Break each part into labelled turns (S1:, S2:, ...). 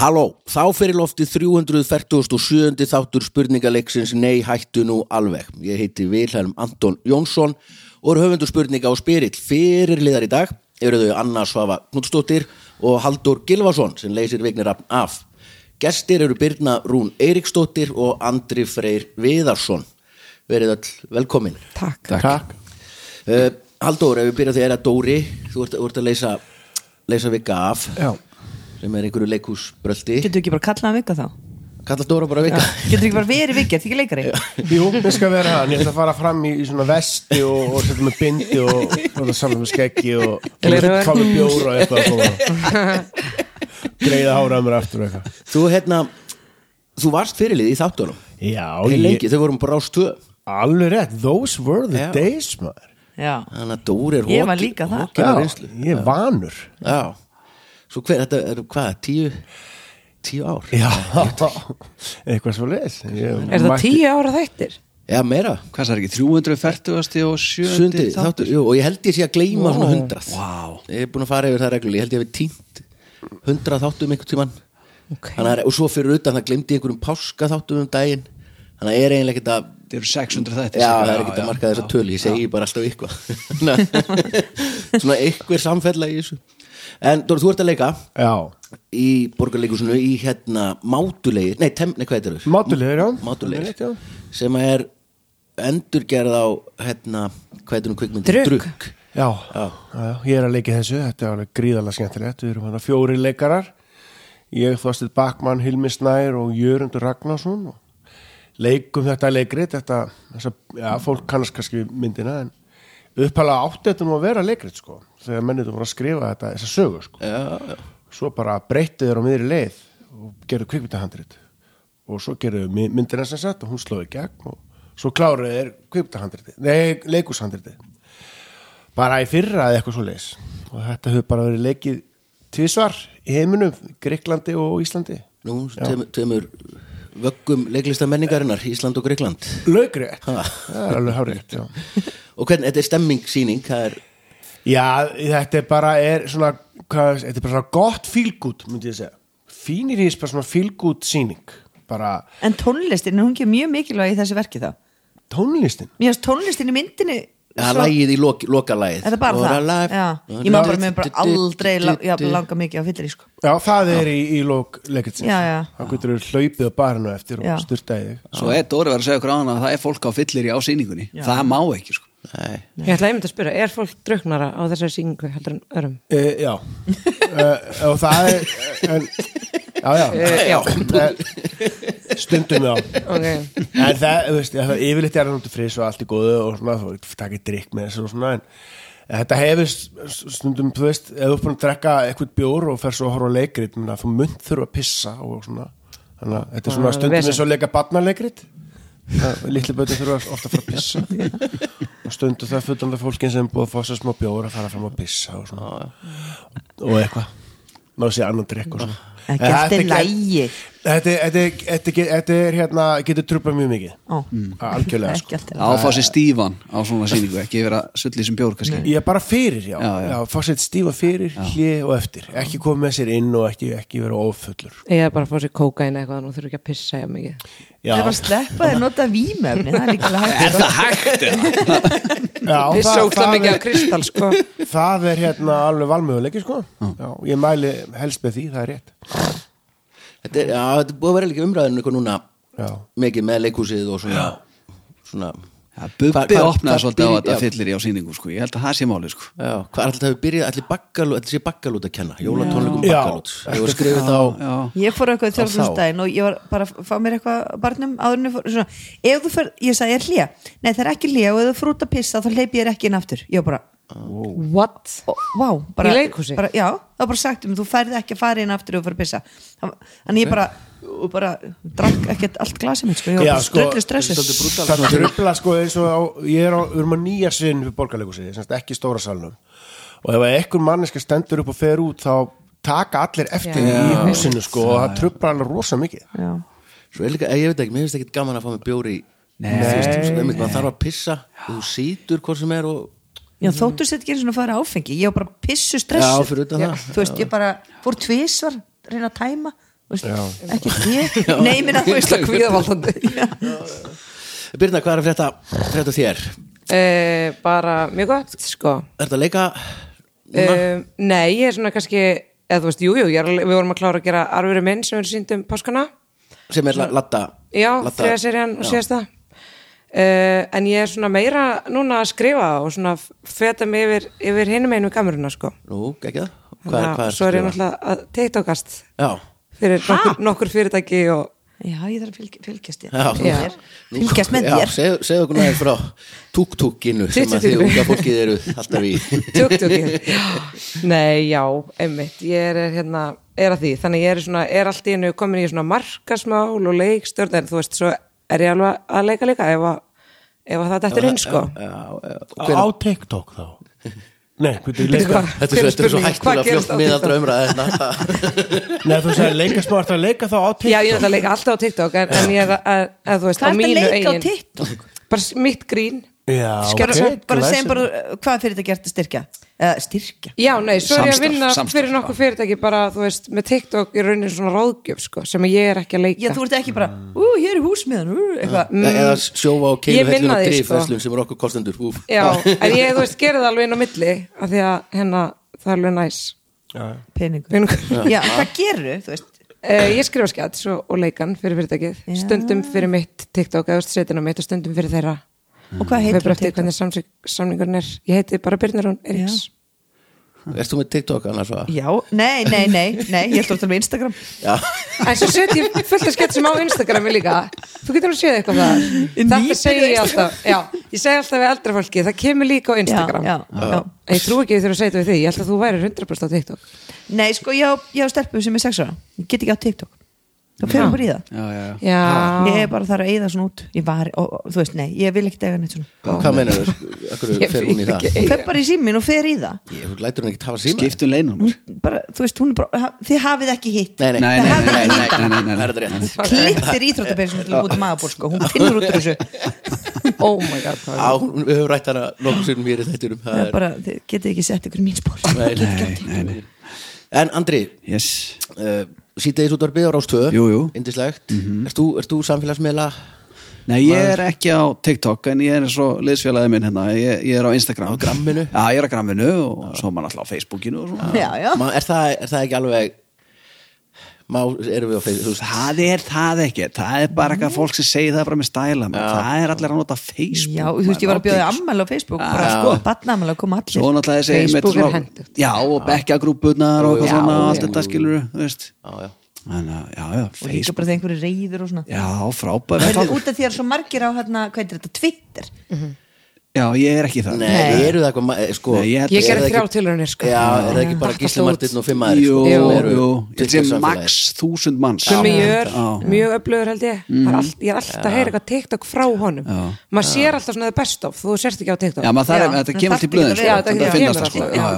S1: Halló, þá fyrir loftið 347. þáttur spurningaleiksins Nei hættu nú alveg. Ég heiti Vilhelm Anton Jónsson og eru höfundu spurninga á spyrill. Fyrirliðar í dag eru þau Anna Svafa Knudstóttir og Haldur Gilvason sem leysir vignir af. Gestir eru Birna Rún Eiríksdóttir og Andri Freyr Viðarsson. Verið all velkomin.
S2: Takk.
S1: Takk. Uh, Haldur, ef við byrjum því að það er að Dóri, þú ert, þú ert að leysa, leysa vika af.
S3: Já,
S1: sem er einhverju leikhúsbröldi
S2: Getur ekki bara kallað hann vikka þá?
S1: Kalla Dóra bara vika
S2: Getur ekki bara verið vikka, þetta ekki leikari?
S3: jú, ég skal vera hann, ég ætla að fara fram í, í svona vesti og, og setja með bindi og og saman með skeggi og
S2: Gleraugu.
S3: fá með bjóra og eitthvað og greiða hára mér aftur og eitthvað.
S1: Þú hérna Þú varst fyrirlið í þáttunum
S3: Já,
S1: Þeir
S3: ég,
S1: lengi, þau vorum bara á stöð
S3: alveg rétt, those were the
S1: Já.
S3: days, maður.
S2: Já,
S1: Þannig að Dóri er hóki
S2: Ég var líka það.
S3: Já,
S1: reynslu
S3: ég er vanur.
S1: Já Svo hver, þetta er hvað, tíu Tíu ár
S3: Já, eitthvað svo leis.
S2: er það tíu ára þættir?
S1: Já, meira
S4: hvað það er ekki, 340 og 70
S1: Sundi, þáttur, jú, og ég held ég sé að gleyma svona hundrað
S4: Vá.
S1: Ég er búin að fara yfir það reglulega, ég held ég hef tínt hundrað þáttum einhvern tímann
S2: Ok.
S1: Þannig að, og svo fyrir utan það gleymdi ég einhverjum páska þáttum um daginn Þannig að er eiginlega ekkert að
S4: þetta eru 600 þættir
S1: Já, það er ekkert að marka þessa tölu, ég segi bara alltaf eitthvað Þannig að- Svona eitthvað samfella í þessu En Dóra, þú ert að leika
S3: Já,
S1: í borgarleikusinu í hérna mátulegir, nei, tem, nei hvað heitir þau?
S3: mátulegur, já.
S1: Mátulegir,
S3: Já.
S1: sem að er endurgerð á hérna, hvað heitir hún kvikmyndi?
S2: Drukk.
S3: Já, já, ég er að leika í þessu, þetta er alveg gríðalega skemmtilegt, við erum hann að fjóri leikarar, ég, Þorstid Bakmann, Hilmi Snær og Jörundur Ragnarsson og leikum þetta leikrit, þetta, þessa, já, fólk kannast kannski við myndina, en uppalega átti þetta nú að vera leikrit, sko, þegar mennið voru að skrifa þetta, þessa sögu, sko,
S1: Já, já,
S3: svo bara breyttu þér á miðri leið og gerðu kvikmyndahandrit og svo gerðu mi- myndina sem sagt og hún slóði gegn og svo kláruðu þér kvikmyndahandritið, nei, leikushandritið bara í fyrra eða eitthvað svo leis og þetta hefur bara verið leikið tvisvar í heiminum, Greiklandi og Íslandi
S1: nú tveimur, tveimur vöggum leiklista menningarinnar, Ísland og Greikland
S3: Laugrétt,
S1: Ha.
S3: það er alveg hárétt já.
S1: Og hvernig, þetta er stemmingssýning, það er
S3: já, þetta er bara er svona, hvað, þetta er bara svona gott fílgút, myndi ég segja fínir í þess bara svona fílgút síning bara
S2: En tónlistin, hún ekki mjög mikilvæg í þessu verki þá
S3: tónlistin
S2: Mér finnst tónlistin í myndinni
S1: Það er lægið í lok, lokalagið
S2: Er það bara
S1: Dóra
S2: það?
S1: Live.
S2: Já, ég má bara með bara aldrei la, já, langa mikið á fyllir sko.
S3: Já, það er í, í lók leikitsins.
S2: Já, já.
S3: Þá getur þau hlaupið á barinu eftir
S2: Já.
S3: og styrtaði þig.
S4: svo er Dóri var að segja okkur á hana að það er fólk á fyllir í ásýningunni það má ekki sko
S1: Nei.
S5: Ég ætla einmitt að spyrja, er fólk druknara á þessari sýningu heldur en örum?
S3: E, já. e, og það er, en, já, já.
S5: Eh, já.
S3: E, stundum já.
S5: Ok,
S3: En það, þú veist, það yfirleitt er hann til frís og allt í góðu og svona, þú veist, takkir drikk með þessu og svona, en þetta hefur stundum, þú veist, ef þú er búin að drekka eitthvað bjór og fer svo að horfa á leikrit, menna, þú munt þurfa að pissa og svona, þannig að þetta er svona
S5: Ah,
S3: stundum
S5: vesen.
S3: eins og að leika barnaleikrit, Það- litli bötur þurfa ofta að fara að pissa og stundum það fullanda fólkin sem er búið að fá sér smá bjór að fara fram að pissa og svona, og eitthvað, ná sér annan drikk og svona.
S2: Ekki
S3: En
S2: allt
S3: þetta
S2: er
S3: er
S2: lægi
S3: Þetta, þetta, þetta, þetta er hérna, getur trúpað mjög mikið
S2: Ó.
S3: Algjörlega
S2: Ekki
S3: sko.
S2: allt er
S4: á að fá sér stífan á svona sýningu ekki vera sullið sem bjór kannski
S3: Ég er bara fyrir, já,
S4: Já,
S3: já,
S4: já.
S3: Fá sér stífa fyrir, hlið og eftir Ekki koma með sér inn og ekki, ekki vera ófullur
S5: ég er bara að fá sér kókain eða eitthvað, nú þurfum ekki að pissa ég mikið.
S3: Já,
S2: Það er bara að sleppa þér nota vímöfni Það er líka alveg hægt
S4: það hægt eða?
S3: já
S5: Pissa
S3: það,
S5: ósla
S3: það,
S5: mikið á kristal, sko.
S3: er, það er hérna alveg valmöðuleiki sko. já, Ég mæli helst með því, það er rétt
S1: Þetta er, já, þetta er búið að vera líka umræðinu eitthvað núna
S3: Já.
S1: mikið með leikhúsið og svona, svona
S4: Ja, Bubbi
S1: Hvað- hvað-
S4: opnaði
S1: hvað
S4: svolítið á
S1: byrjar-
S4: þetta
S1: já.
S4: fyllir í ásýningu sko. ég held að það sé máli sko.
S1: já, hvað er alltaf hefur byrjað, allir bakkalút allir sé bakkalút að kenna, jólatónleikum
S3: Já.
S1: bakkalút ég var skrifið þá
S4: já.
S2: Ég fór á eitthvað í
S1: Á þá.
S2: þjóðfélagstæðin og ég var bara að fá mér eitthvað á barnum áður en ég fór, svona, ef þú fer, ég sagði ég er hlýja nei það er ekki hlýja og ef þú fer út að pissa þá hleypi ég þér ekki inn aftur, ég var bara
S5: What?
S2: ó, vá, bara,
S5: Í leikhúsi?
S2: bara já, það var bara sagt um, þú ferði ekki að fara inn aftur og fer að pissa þannig ég bara, og bara drakk ekkert allt glasið mitt, sko, ég var
S3: Já,
S2: bara
S3: sko,
S2: ströllu stressuð
S3: Það trubla sko eins og á, ég er á, við erum á nýja sinn fyrir borgarleikusið, semst ekki í stóra salnum og ef einhver manneska stendur upp og fer út þá taka allir eftir
S5: Já.
S3: því í húsinu sko og það trubla alveg rosa mikið
S2: já,
S1: svo er líka, ég veit ekki, mér finnst ekki gaman að fá mig bjóri
S4: Nei.
S1: maður þarf að pissa og þú situr hvort sem er og
S2: já þóttu sett ekki eins og fara áfengi, ég var bara pissu
S1: já,
S2: stressuð
S1: fyrir utan
S5: Já.
S1: það
S2: þú veist, ég bara fór tvisvar reyna að tæma veist,
S3: Já.
S2: ekki ég, nei, ég minna þú veist að kvíðavaldandi Já.
S1: Birna, hvað er að frétta, frétta þér?
S5: Eh, bara mjög gott sko
S1: Er þetta að leika?
S2: Eh,
S5: um, Nei, ég er svona kannski eða þú veist, jújú, jú, ég er alveg- við vorum að klára að gera arfuru minn sem við síndum páskana
S1: sem er la- latta
S5: Já,
S1: latta-
S5: þriða serían og
S1: Já.
S5: síðasta uh, En ég er svona meira núna að skrifa og svona f- feta mig yfir, yfir hinum einu kameruna sko
S1: Nú, ekki það? Hvað,
S5: Þannig
S1: hvað
S5: að-
S1: er
S5: Svo er ég
S1: skrifa?
S5: náttúrulega að teiktokast
S1: Já,
S5: fyrir nokkur, nokkur fyrirtæki og
S2: Já, ég þarf að fylg, fylgjast hérna þér
S1: já,
S5: Já.
S1: Nú-
S2: Fylgjast með
S1: Já,
S2: þér.
S1: segðu segðu okkur næður frá túk-túkinu sem að þið
S5: Túk-túkinu.
S1: unga fólkið eru alltaf í
S5: Tugtugið Nei, já, einmitt Ég er hérna, er að því Þannig ég er, svona, er allt í hennu komin í svona markasmál og leikstjórn en þú veist, svo er ég alveg að leika líka ef, að, ef að það dættur inn sko
S3: Á TikTok þá Nei, hvernig ég leika
S1: Þetta er svo, þetta er svo hættulega fljótt miðaldra umræða hérna.
S3: Nei, þú sagði leika smá, ertu að leika þá á
S5: Já,
S3: TikTok
S5: ég er að leika alltaf á TikTok en, en ég er að, að, að þú veist,
S2: Hvað ertu
S5: á
S2: að
S5: mínu
S2: leika á
S5: eigin
S2: TikTok?
S5: Bara s- mitt grín
S3: Já,
S2: Skjara,
S3: ok,
S2: bara
S3: glæsilegt.
S2: segjum bara uh, hvað fyrir þetta gert að styrkja uh, styrkja
S5: Já, nei, svo er ég að
S4: Samstarf,
S5: vinna
S4: samstarf,
S5: fyrir nokkuð fyrirtæki bara, þú veist, með TikTok í raunin svona ráðgjöf, sko, sem ég er ekki að leika
S2: Já, þú ert ekki bara,
S5: Mm.
S2: ú, hér er húsmiðan ú, eitthvað
S1: E- eða sjófa og
S5: Ég
S1: keiluhellur
S5: vinna
S1: og
S5: því,
S1: grif
S5: sko.
S1: verslun sem er okkur kostendur Úf.
S5: Já, en ég, þú veist, gerði það alveg inn á milli af því að hérna, það er alveg næs
S2: peningur
S5: Peningur.
S2: Já, hvað gerðu, þú veist
S5: uh, Ég skrifa skjáts og, og leikan fyrir fyrirtækið
S2: Já.
S5: stundum fyrir mitt TikTok eða setin á mitt og stundum fyrir þeirra
S2: og hvað
S5: Við
S2: heitir
S5: bara Mm. eftir hvernig samsik- samningurinn er Ég heiti bara Birnarún Eriks
S1: Erst þú með TikTok annars? va?
S2: Já, nei, nei, nei, nei, ég ætla að tala með Instagram
S1: Já,
S5: En svo set ég fullt að sketsum á Instagrami líka Þú getur nú séð eitthvað það
S2: Ég nýtir
S5: Þetta segi ég
S2: Instagram.
S5: alltaf já, Ég segi alltaf við eldra fólki, það kemur líka á Instagram
S2: já, já.
S5: En Ég trú ekki að ég þurfa að segja þetta við því Ég held að þú væri 100% á TikTok
S2: Nei, sko, ég á- ég á stelpu sem er sex ára Ég get ekki á TikTok Það fyrir bara í það
S4: já, já, já.
S5: Já,
S2: Ég er bara þar að eyða svona út Ég var, og, og, þú veist, nei, ég vil ekki eiga neitt svona
S1: hvað meinar þau? Akkur
S5: Ég
S1: fer hún í
S5: veit
S1: það?
S5: ekki.
S2: Hún fer bara í símin og fer í það
S1: Ég lætur hún ekki tafa síma
S4: skiptum leinum
S2: bara, Þú veist, hún er bara, ha- þið hafið ekki hitt
S1: Nei, nei,
S4: Nei, nei,
S1: nei,
S4: nei, nei, nei, nei, nei, nei.
S1: það er þetta rétt
S2: Klittir íþróttabeyrið sem út um aðból, sko Hún finnur út úr þessu
S5: oh my god hvað er-
S1: Á, hún- við höfum rætt hana nokkuð sinnum hér í þættinum það
S2: Það er
S1: er-
S2: bara, þið getið ekki sett ykkur í mín spór
S1: Nei, nei,
S4: nei, nei.
S1: En Andri,
S4: yes.
S1: uh, sítiðis útvarfið á Rástöð
S4: Jú, Mhm. jú.
S1: Indislægt, ert þú, ert þú samfélagsmiðla?
S4: Nei, ég er ekki á TikTok en ég er eins og liðsfélagið minn hérna ég, ég er á Instagram
S1: Á Gramminu?
S4: Já, ég er á Gramminu og svo er maður alltaf á Facebookinu og svona
S2: Já, já,
S1: Ma, er, það, er það ekki alveg Má, erum við á Facebook þú veist?
S4: Það er það ekki, það er bara eitthvað fólk sem segir það bara með stæla maður. það er allir að nota Facebook
S2: já, þú veist, ég var að bjóða ammæla á Facebook bara, sko, batnammæla að koma allir
S4: Svo náttúrulega þessi einmitt
S5: Facebook er
S4: svona-
S5: hentugt.
S4: Já, og bekkjagrúpunar og eitthvað
S1: Já,
S4: svona, allt
S1: já.
S4: þetta skilur þú veist
S1: Já, já
S4: Þannig að, já, já,
S2: og líka
S4: Facebook
S2: bara þegar einhverju reyður og svona
S4: Já, frábæð
S2: Heyrðu, út af því að svo margir á hérna, hvað er þetta, Twitter
S4: Já, ég er ekki það
S1: Nei, eru það eitthvað ma- eh, sko,
S4: Nei, ég held-
S5: Ég
S1: eru
S5: gerði
S1: það
S5: þrjá
S1: ekki-
S5: tilraunir, sko.
S1: Já, er það ekki bara
S5: Datt
S1: Gísli
S5: allt út.
S1: Martin og fimm aðri
S4: Jú,
S1: sko, sem eru
S4: jú, þetta
S1: Twitter
S4: er max
S1: samfélagið.
S4: þúsund manns
S5: Gummi Jör,
S4: Já.
S5: mjög öflugur held ég mm. all, ég er alltaf að heyra eitthvað TikTok frá honum maður sér alltaf svona the best of þú sérst ekki á TikTok
S4: Já, maður þarf,
S2: Já,
S4: þetta
S2: en
S4: kemur
S2: þarf
S4: til
S2: ekki
S4: blöðin, sko,
S2: að vera-
S5: Já, þetta
S4: þetta
S5: kemur
S4: finnast það, sko, já,
S5: alltaf, já.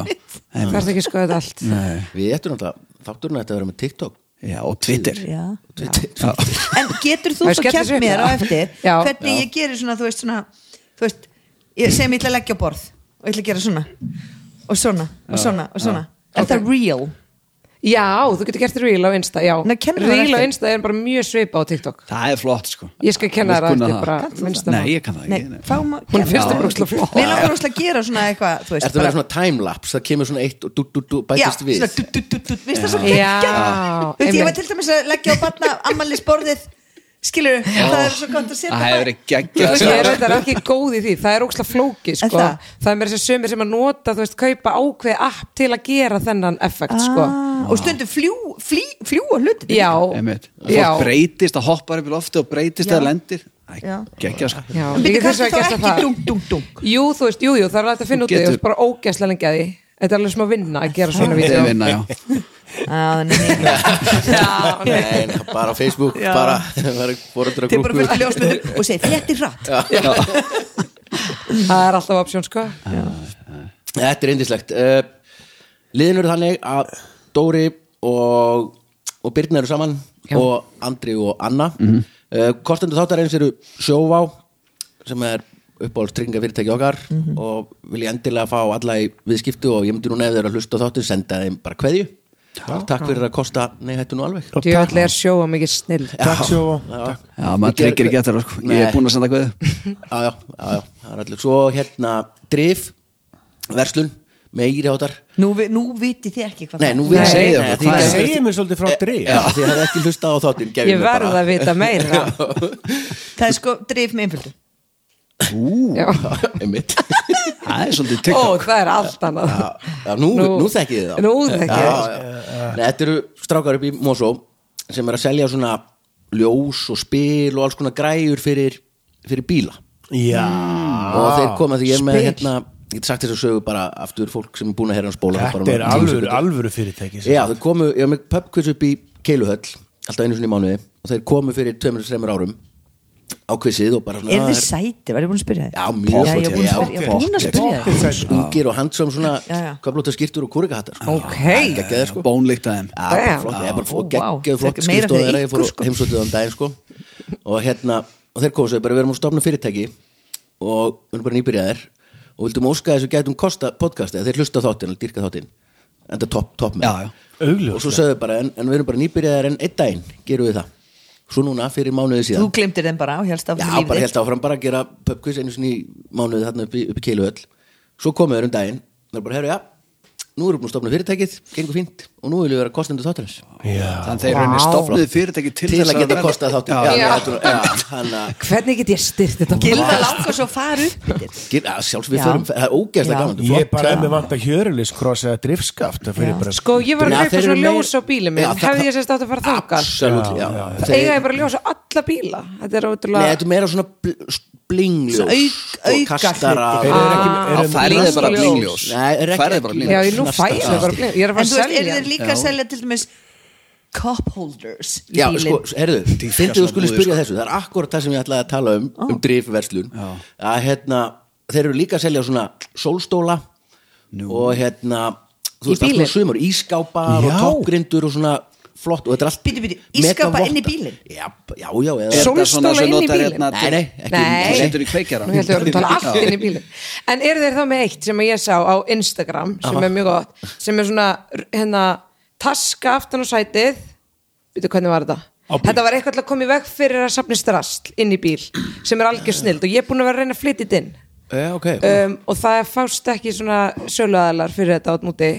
S4: já,
S5: það er ekki skoðið allt
S4: Nei.
S1: Við ættum náttúrulega þátturinn að þetta vera með TikTok
S4: já, og Twitter.
S2: já.
S1: Twitter.
S2: en getur þú
S5: Það er
S2: svo
S5: skellur
S2: kæft
S5: sér.
S2: mér á eftir
S5: Já.
S2: hvernig ég gerir svona, þú veist, svona þú veist, ég sem ég ætla að leggja á borð og ég ætla að gera svona og svona, og svona, og svona er það real?
S5: Já, þú getur gert reel á Insta já.
S2: Nei, kennir það
S5: Reel á
S2: eftir.
S5: Insta er bara mjög svipa á TikTok
S4: Það er flott, sko.
S5: Ég skal
S4: Þú
S5: kenna þér
S4: kunna
S5: að þetta er bara
S2: Kannt þú það?
S5: minnsta
S4: Nei, ég kann það
S2: Nei,
S4: ekki. nei.
S2: fáum að
S5: Hún
S2: Já.
S5: finnst það bara ógeðslega flott.
S2: Mér langar óslega að gera svona eitthvað þú
S1: Er
S2: veist,
S1: það vera svona timelapse, það kemur svona eitt og dú, dú, dú,
S2: Já,
S1: bætist við
S2: svona du, du, du, du, Vist það svo
S5: Já.
S2: geggjað?
S5: Já,
S2: Þú veist, Ég var
S5: einmitt.
S2: til dæmis að leggja á batna ammallisborðið Skilur, það er svo gott að setja
S4: Það hefur ekki
S5: Þú veist, Ég er
S4: geggjað. sko.
S5: þetta ekki góð í því, það er ókslega flóki sko.
S2: Er það?
S5: það? er mér þessi sömur sem að nota þú veist, kaupa ákveði app til að gera þennan effekt sko.
S2: Ah, og stundum fljú, flý, fljúa hlutin
S5: Já,
S4: Einmitt.
S5: já,
S4: Fólk breytist, það hoppar upp í lofti og breytist
S2: Já.
S4: eða lendir.
S2: Já.
S4: Geggjað, sko.
S5: já.
S2: en
S5: Ég
S2: byrju
S5: get þess
S2: kannski þá
S5: vegna gert
S2: ekki
S5: að það-
S2: dung, dung, dung
S5: Jú, þú veist, jú, jú, það er alltaf að finna út í
S4: Getur-
S5: það er bara ógæslega lengi að því Þetta er alveg smá vinna að gera svona
S4: Þetta er
S5: vídeo
S4: vinna, já.
S2: ah, nei, nei, nei.
S5: Já, nei.
S1: Nei, nei, bara á Facebook,
S2: Já.
S1: bara bara foreldrar
S2: til bara
S1: grúpur.
S2: fyrir ljósmyndur og segi flétti hratt
S5: Það er alltaf option sko
S1: Þetta er indislegt uh, Liðin eru þannig að Dóri og, og Birna eru saman
S5: Já.
S1: og Andri og Anna mm
S4: Mhm.
S1: Kostendur þáttar eins eru Sjóvá sem er uppáhalds trygginga fyrirtæki okkar
S4: Mhm.
S1: og vil ég endilega fá alla í viðskiptu og ég myndi núna ef þeir eru að hlusta á þáttin senda þeim bara kveðju Takk fyrir að kosta, nei hættu nú alveg
S5: Djöfell er sjóa mikið snill
S3: Takk sjófa
S4: Já, maður tryggir ekki eftir það, sko. Ég er búin að senda hvað
S1: Já, já, já, já, það er allir Svo hérna, drif, verslun, meiri hátar
S2: Nú, vi, nú viti þið ekki hvað
S1: Nei, nú
S2: það
S1: við
S5: Nei.
S4: Segðu
S1: nei,
S4: okkur,
S1: þið
S4: hvað
S1: gætu-
S4: er-
S3: Segir mér svolítið frá drif
S1: Já, þið hefði ekki hlustað á þáttinn gefið
S5: Ég
S1: mér bara.
S5: verð að vita meira
S2: Það er sko drif með einföldu
S5: Já.
S1: Einmitt
S4: Það er svolítið
S5: Ó,
S4: TikTok
S5: það er allt annað
S1: Já, já, nú, nú,
S5: Nú-
S1: nú þekkið þið það
S5: Nú þekki ég það.
S1: Já, já. Nei, Þetta eru strákar upp í Mosó sem er að selja svona ljós og spil og alls konar græjur fyrir, fyrir bíla
S3: Já
S5: Ah,
S1: og þeir koma því ég er með
S2: spil.
S1: hérna ég get sagt þess að sögu bara aftur fólk sem er búin að herra hans bóla
S3: Þetta er alvöru, alvöru fyrirtæki sko. sem
S1: Já, þau komu, ég var með pubquiz upp í Keiluhöll alltaf einu sinni í mánuði og þeir komu fyrir 2-3 árum á quizið og bara svona
S2: Er þið
S1: "Ah,
S2: sæti, var ég búin að spyrja þið?
S1: Já, mjög
S2: Já, ég er búin að spyrja- ég er búin að spyrja þig.
S1: Ungir og handsum svona
S2: Já, já.
S1: köflóta skýrtur og kúrikahattar sko.
S5: Ok.
S1: Geggjaðir, sko.
S4: Bónlíkt að þeim
S1: Já, bara
S5: Damn.
S1: flott, það er bara
S2: Ó,
S1: flott,
S2: vá.
S1: geggjöð flott
S2: Þetta
S1: skrifstofa
S2: er meira fyrir
S1: þeirra, ég fór
S2: ykkur, sko.
S1: heimsóttuðan daginn sko og hérna, og þeir komum svo bara við erum að stofna fyrirtæki og við erum bara nýbyrjaðir og vildum óska þessu gætum kosta podcastið, þeir hlusta á þáttinn, og dýrka þáttinn enda topp, topp með
S4: Já, já.
S3: Augljóslega.
S1: og svo sögðu bara, en, en við erum bara nýbyrjaðir en einn daginn, gerum við það svo núna fyrir mánuði síðan
S2: Þú glemtir þeim bara á helst af
S1: Já,
S2: lífið
S1: bara held áfram bara að gera pubquiz einu sinni í mánuði þarna upp í, upp í keiluhöll Svo komum við um daginn Það er bara, herru, já, nú erum við búin að stofna fyrirtækið Gengur fínt og nú viljum við vera kostendur þáttarins
S3: Já,
S4: Þannig þeir wow.
S5: Vá.
S4: stofnuðu fyrirtæki til,
S1: Til að geta
S4: verða-
S1: kostað þáttir
S4: Já,
S1: já,
S5: Já.
S1: já, já, hann að
S5: Hvernig get ég styrt þetta?
S2: Gilfa langar svo faru
S1: gera- já, Sjálfs við
S2: Já.
S1: förum, það er ógeðslega
S2: Já.
S1: gaman
S3: Ég er
S1: flott.
S3: bara ef mér vant að hjörulis kross eða driftskaft Það fyrir bara
S5: Sko, ég var
S1: Já,
S5: að kaupa
S1: þeir
S5: svo
S1: eru meir-
S5: ljós á bílum minn
S1: Já, það-
S5: Hefði ég sérst átt að fara þangað
S1: Absolutt, já,
S5: Það eiga ég bara ljós á alla bíla Þetta er
S1: Nei,
S5: ótrúlega
S1: þetta er meira svona bl-
S2: Svo
S1: blingljós
S2: auk-
S1: og
S2: auka
S1: kastara
S2: hluti.
S3: Eru þeir ekki-
S4: Já, færðu þeir
S3: eru þeir-
S4: bara
S5: Ljós.
S4: blingljós
S1: Nei, er ekki-
S4: Færðu þeir bara
S5: Já,
S4: blingljós
S5: ég nú fæ ég bara blíð Ég er að
S2: En þú
S5: fara að
S2: veist, eru
S5: selja
S2: þeir líka að selja til dæmis cup holders í
S1: Já,
S2: bílinn?
S1: sko, herðu,
S4: Dýrka
S1: fyndið þú
S4: svona
S1: skulle
S4: búðir,
S1: spyrja þessu Það er akkurat það sem ég ætlaði að tala um um drifverslun að hérna, þeir eru líka að selja svona sólstóla og hérna, þú veist,
S5: Í
S1: alls
S5: bílinn?
S1: konar sumur ískápar
S3: Já.
S1: og toppgrindur og svona flott og þetta er allt
S2: Bíddu, bíddu,
S1: mega
S2: ísskápa
S1: votta.
S2: inn í bílinn?
S1: Já, já, já, eða
S5: Sól-
S4: Þetta er svona
S5: Sólstóla
S4: sem
S5: inn í
S4: notar
S5: bílinn?
S4: hérna
S1: Nei, nei, ekki-
S5: Nei.
S4: Þú setur í kveikjarann.
S5: Nú heldur við að tala allt inn í bílinn En eru þeir þá með eitt sem að ég sá á Instagram sem er mjög gott sem er svona hérna taska aftan á sætið Býtu, hvernig var þetta?
S3: Á bíl.
S5: Þetta var eitthvað til að koma í veg fyrir að safnist rast inn í bíl sem er algjör snild og ég er búin að vera að reyna að flytja þetta inn
S1: Já, Eh, ok
S5: um, og það er fást ekki svona söluaðalar fyrir þetta át múti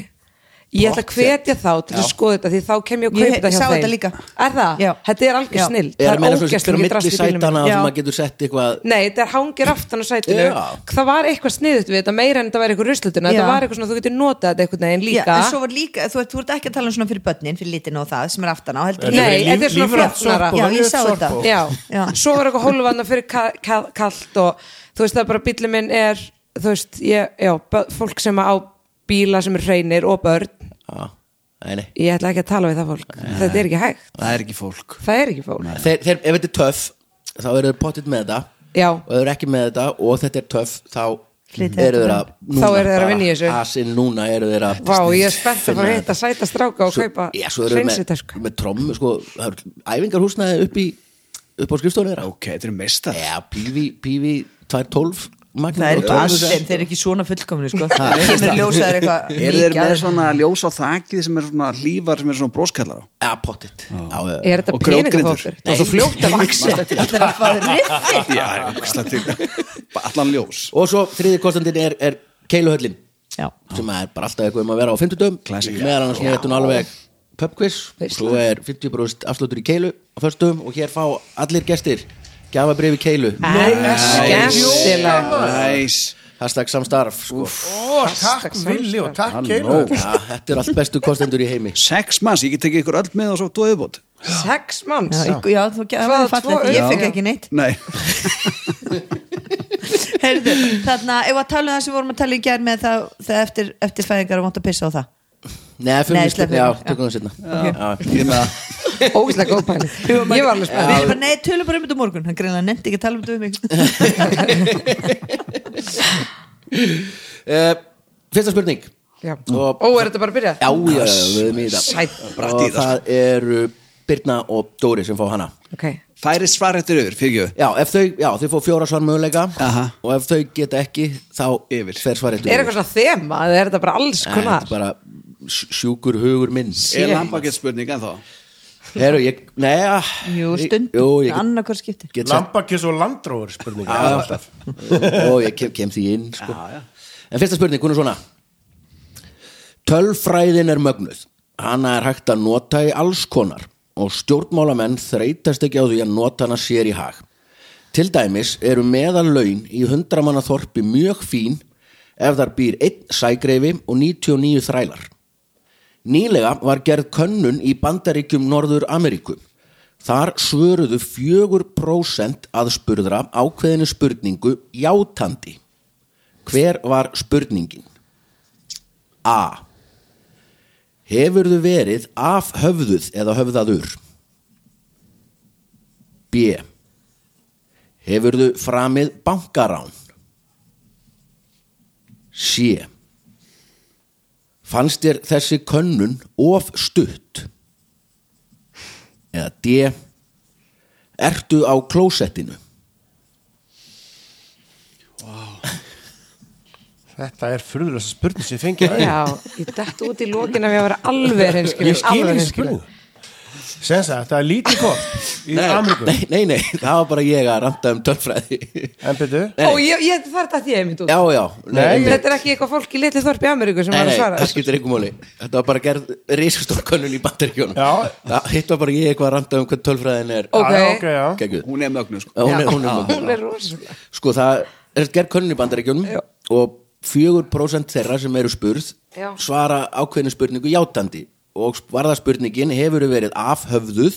S5: ég ætla að hvetja þá til að skoða þetta því þá kem ég að kaupa
S2: Ég
S5: þetta hjá
S2: sá
S5: þeim
S2: þetta líka.
S5: Er það?
S2: Já.
S5: Þetta er algjör
S2: Já.
S5: snild
S1: Er
S5: Það
S1: meina
S5: er
S1: svo
S5: ógæst
S1: sér
S5: mikið
S1: milli
S5: drast í bílum
S1: sætana
S5: mínum.
S1: sem
S2: Já.
S1: maður getur sett eitthvað
S5: Nei, þetta er hangir aftan á sætinu
S1: Já.
S5: Það var eitthvað sniðut við þetta meira en þetta var eitthvað ruslutuna
S2: Já.
S5: Þetta var eitthvað svona þú getur notað þetta einhvern veginn
S2: Já,
S5: líka
S2: en svo var líka, þú, ert- þú ert ekki að tala um svona fyrir börnin fyrir litin og það sem er aftan á heldur
S5: Nei, þetta er svona flotnara.
S2: Já, ég sá þetta.
S5: Já.
S2: Já.
S5: Svo var eitthvað hólvanna fyrir ka- ka- kalt og þú veist það er bara bíllinn minn er þú veist, ég, já, bö- fólk sem á bíla sem er hreinir og börn
S1: Já, nei, nei
S5: ég ætla ekki að tala við það fólk þetta er ekki hægt,
S4: Það er ekki fólk
S5: það er ekki fólk
S1: þeir, þeir, ef þetta er töff þá eru þeir pottitt með þetta
S5: Já.
S1: og ef þeir eru ekki með þetta og þetta er töff þá
S2: Flytja
S1: eru
S2: þetta
S1: þeir að núna
S5: Þá eru þeir að
S1: bara-
S5: vinna í þessu.
S1: asinn núna eru þeir að
S5: Vá, ég er spennt að fara að hitta sæta stráka og kaupa
S1: já, svo eru þeir með,
S5: hreinsitösku
S1: með trommu sko, það eru æfingarhúsnaði upp í upp á skrifstofunni þeirra
S4: Ok, þetta er meistar
S1: já, pívi, pívi 212
S2: Það er ekki alls þeim, þeir eru ekki svona fullkomni sko. Það kemur ljósaður eitthvað
S4: Eru þeir
S2: mikið
S4: með
S2: að-
S4: svona ljós á þakið sem er svona hlífar sem er svona broskallar á
S1: já, pottitt já, já, já.
S5: Er þetta
S4: Og grjótgrindur.
S5: peningaþóttur? Það er svo fljótt að vaksa
S2: Það er að fá þeir riffil
S4: Já, já, ógeðslega til. Bara Allan ljós
S1: og svo þriði kostandinn er, er keiluhöllin
S2: Já.
S1: sem er bara alltaf eitthvað um að vera á 50
S4: Classic.
S1: meðan annars með þetta alveg pubquiz
S5: Veisla.
S1: svo er 50% afslutur í keilu á föstum og hér fá allir gestir gjafabrif í keilu
S5: Ah. Skemmtilega
S4: Næs
S1: hashtag samstarf sko.
S3: Ó, takk Vili og takk Keilur
S1: ja, þetta er allt bestu kostendur í heimi
S4: Sex manns, ég get tekið ykkur öll með og svo dóðubót
S5: Sex manns
S2: Já, Já, þú það
S5: Hvaða
S2: var fallegt,
S5: tvo-
S2: ég fekk
S5: Já.
S2: ekki neitt
S4: Nei,
S2: Herðu, þannig að ef að tala um það sem við vorum að tala í gerð með það, það eftir, eftir fæðingar og mátt að pissa á það
S1: Nei, fyrir
S2: Nei,
S1: mig
S2: sleppum
S1: já,
S2: því.
S1: tökum það sérna
S4: ég með það
S5: Ógæslega góð pæling Ég var alveg
S2: Við
S5: spennt
S2: erum bara, nei, tölum bara um þetta á morgun Hann greinlega nefndi ekki að tala um þetta um mig
S1: Eh, fyrsta spurning
S5: Já.
S4: Mm.
S1: Og-
S5: Ó, er þetta bara að byrja?
S1: já, já, já, við erum í
S5: Sæt.
S1: þetta
S4: Bratt í
S1: og
S4: það, sko.
S1: það eru Birna og Dóri sem fá hana
S5: Ok
S4: Færi svar eftir yfir, fyrir
S1: já, ef þau, já, þau fá fjóra svar möguleika
S4: Aha.
S1: og ef þau geta ekki þá
S4: Yfir.
S1: fer svarið
S5: Er eitthvað svona þema? Eða er þetta bara
S1: Nei,
S5: alls
S1: þetta
S5: konar?
S1: er bara sj- sjúkur hugur minn
S4: Er lambakett spurning en þá?
S1: Heru, ég, neða
S2: Jú, stund,
S1: Jú, ég get,
S2: annarkar skipti
S1: get sagt
S3: Lambakiss og landróður spurning
S1: Já, alltaf og ég kem, kem því inn sko.
S4: Já, já.
S1: en fyrsta spurning, hún er svona tölfræðin er mögnuð hana er hægt að nota í alls konar og stjórnmálamenn þreytast ekki á því að nota hana sér í hag til dæmis eru meðalaun í hundramanna þorpi mjög fín ef þar býr einn sægreifi og 99 þrælar Nýlega var gerð könnun í bandaríkjum Norður Ameríku. Þar svöruðu 4% að spurðra ákveðinu spurningu játandi. Hver var spurningin? A. Hefurðu verið af höfðuð eða höfðaður? B. Hefurðu framið bankarán? C. Fannst þér þessi könnun of stutt? Eða D. Ertu á klósettinu?
S3: Þetta er furðulegsta spurning sem ég fengi
S5: Já, ég dætt út í lokin að ég var alveg hreinskilin
S3: Ég skil ekki spurning Sens að þetta er lítið kort í Ameríku
S1: nei, nei, nei, það var bara ég að ranta um tölfræði
S3: En byrju,
S5: Ó, ég, ég þarf þetta því einmitt út
S1: Já, já
S3: Nei,
S1: einmitt.
S5: Þetta er ekki eitthvað fólk í litli þorpi Ameríku sem
S1: Nei,
S5: var
S1: nei,
S5: að svara
S1: það skiptir einhver máli Þetta var bara gerð risastór könnun í bandaríkjónum
S3: Já.
S1: Það hitt var bara ég eitthvað að ranta um hvað tölfræðin er
S5: Ok.
S3: Já, ok, já.
S1: Gekkjuð.
S4: Hún er mögnu sko
S1: Hún er, hún er,
S5: Já,
S1: hún
S5: Hún er rosalega
S1: Sko það er gerð könnun í bandaríkjunum
S5: Já.
S1: og 4% þeirra sem eru spurð
S5: Já.
S1: svara ákveðinu spurningu játandi og varða spurningin hefur verið afhöfðuð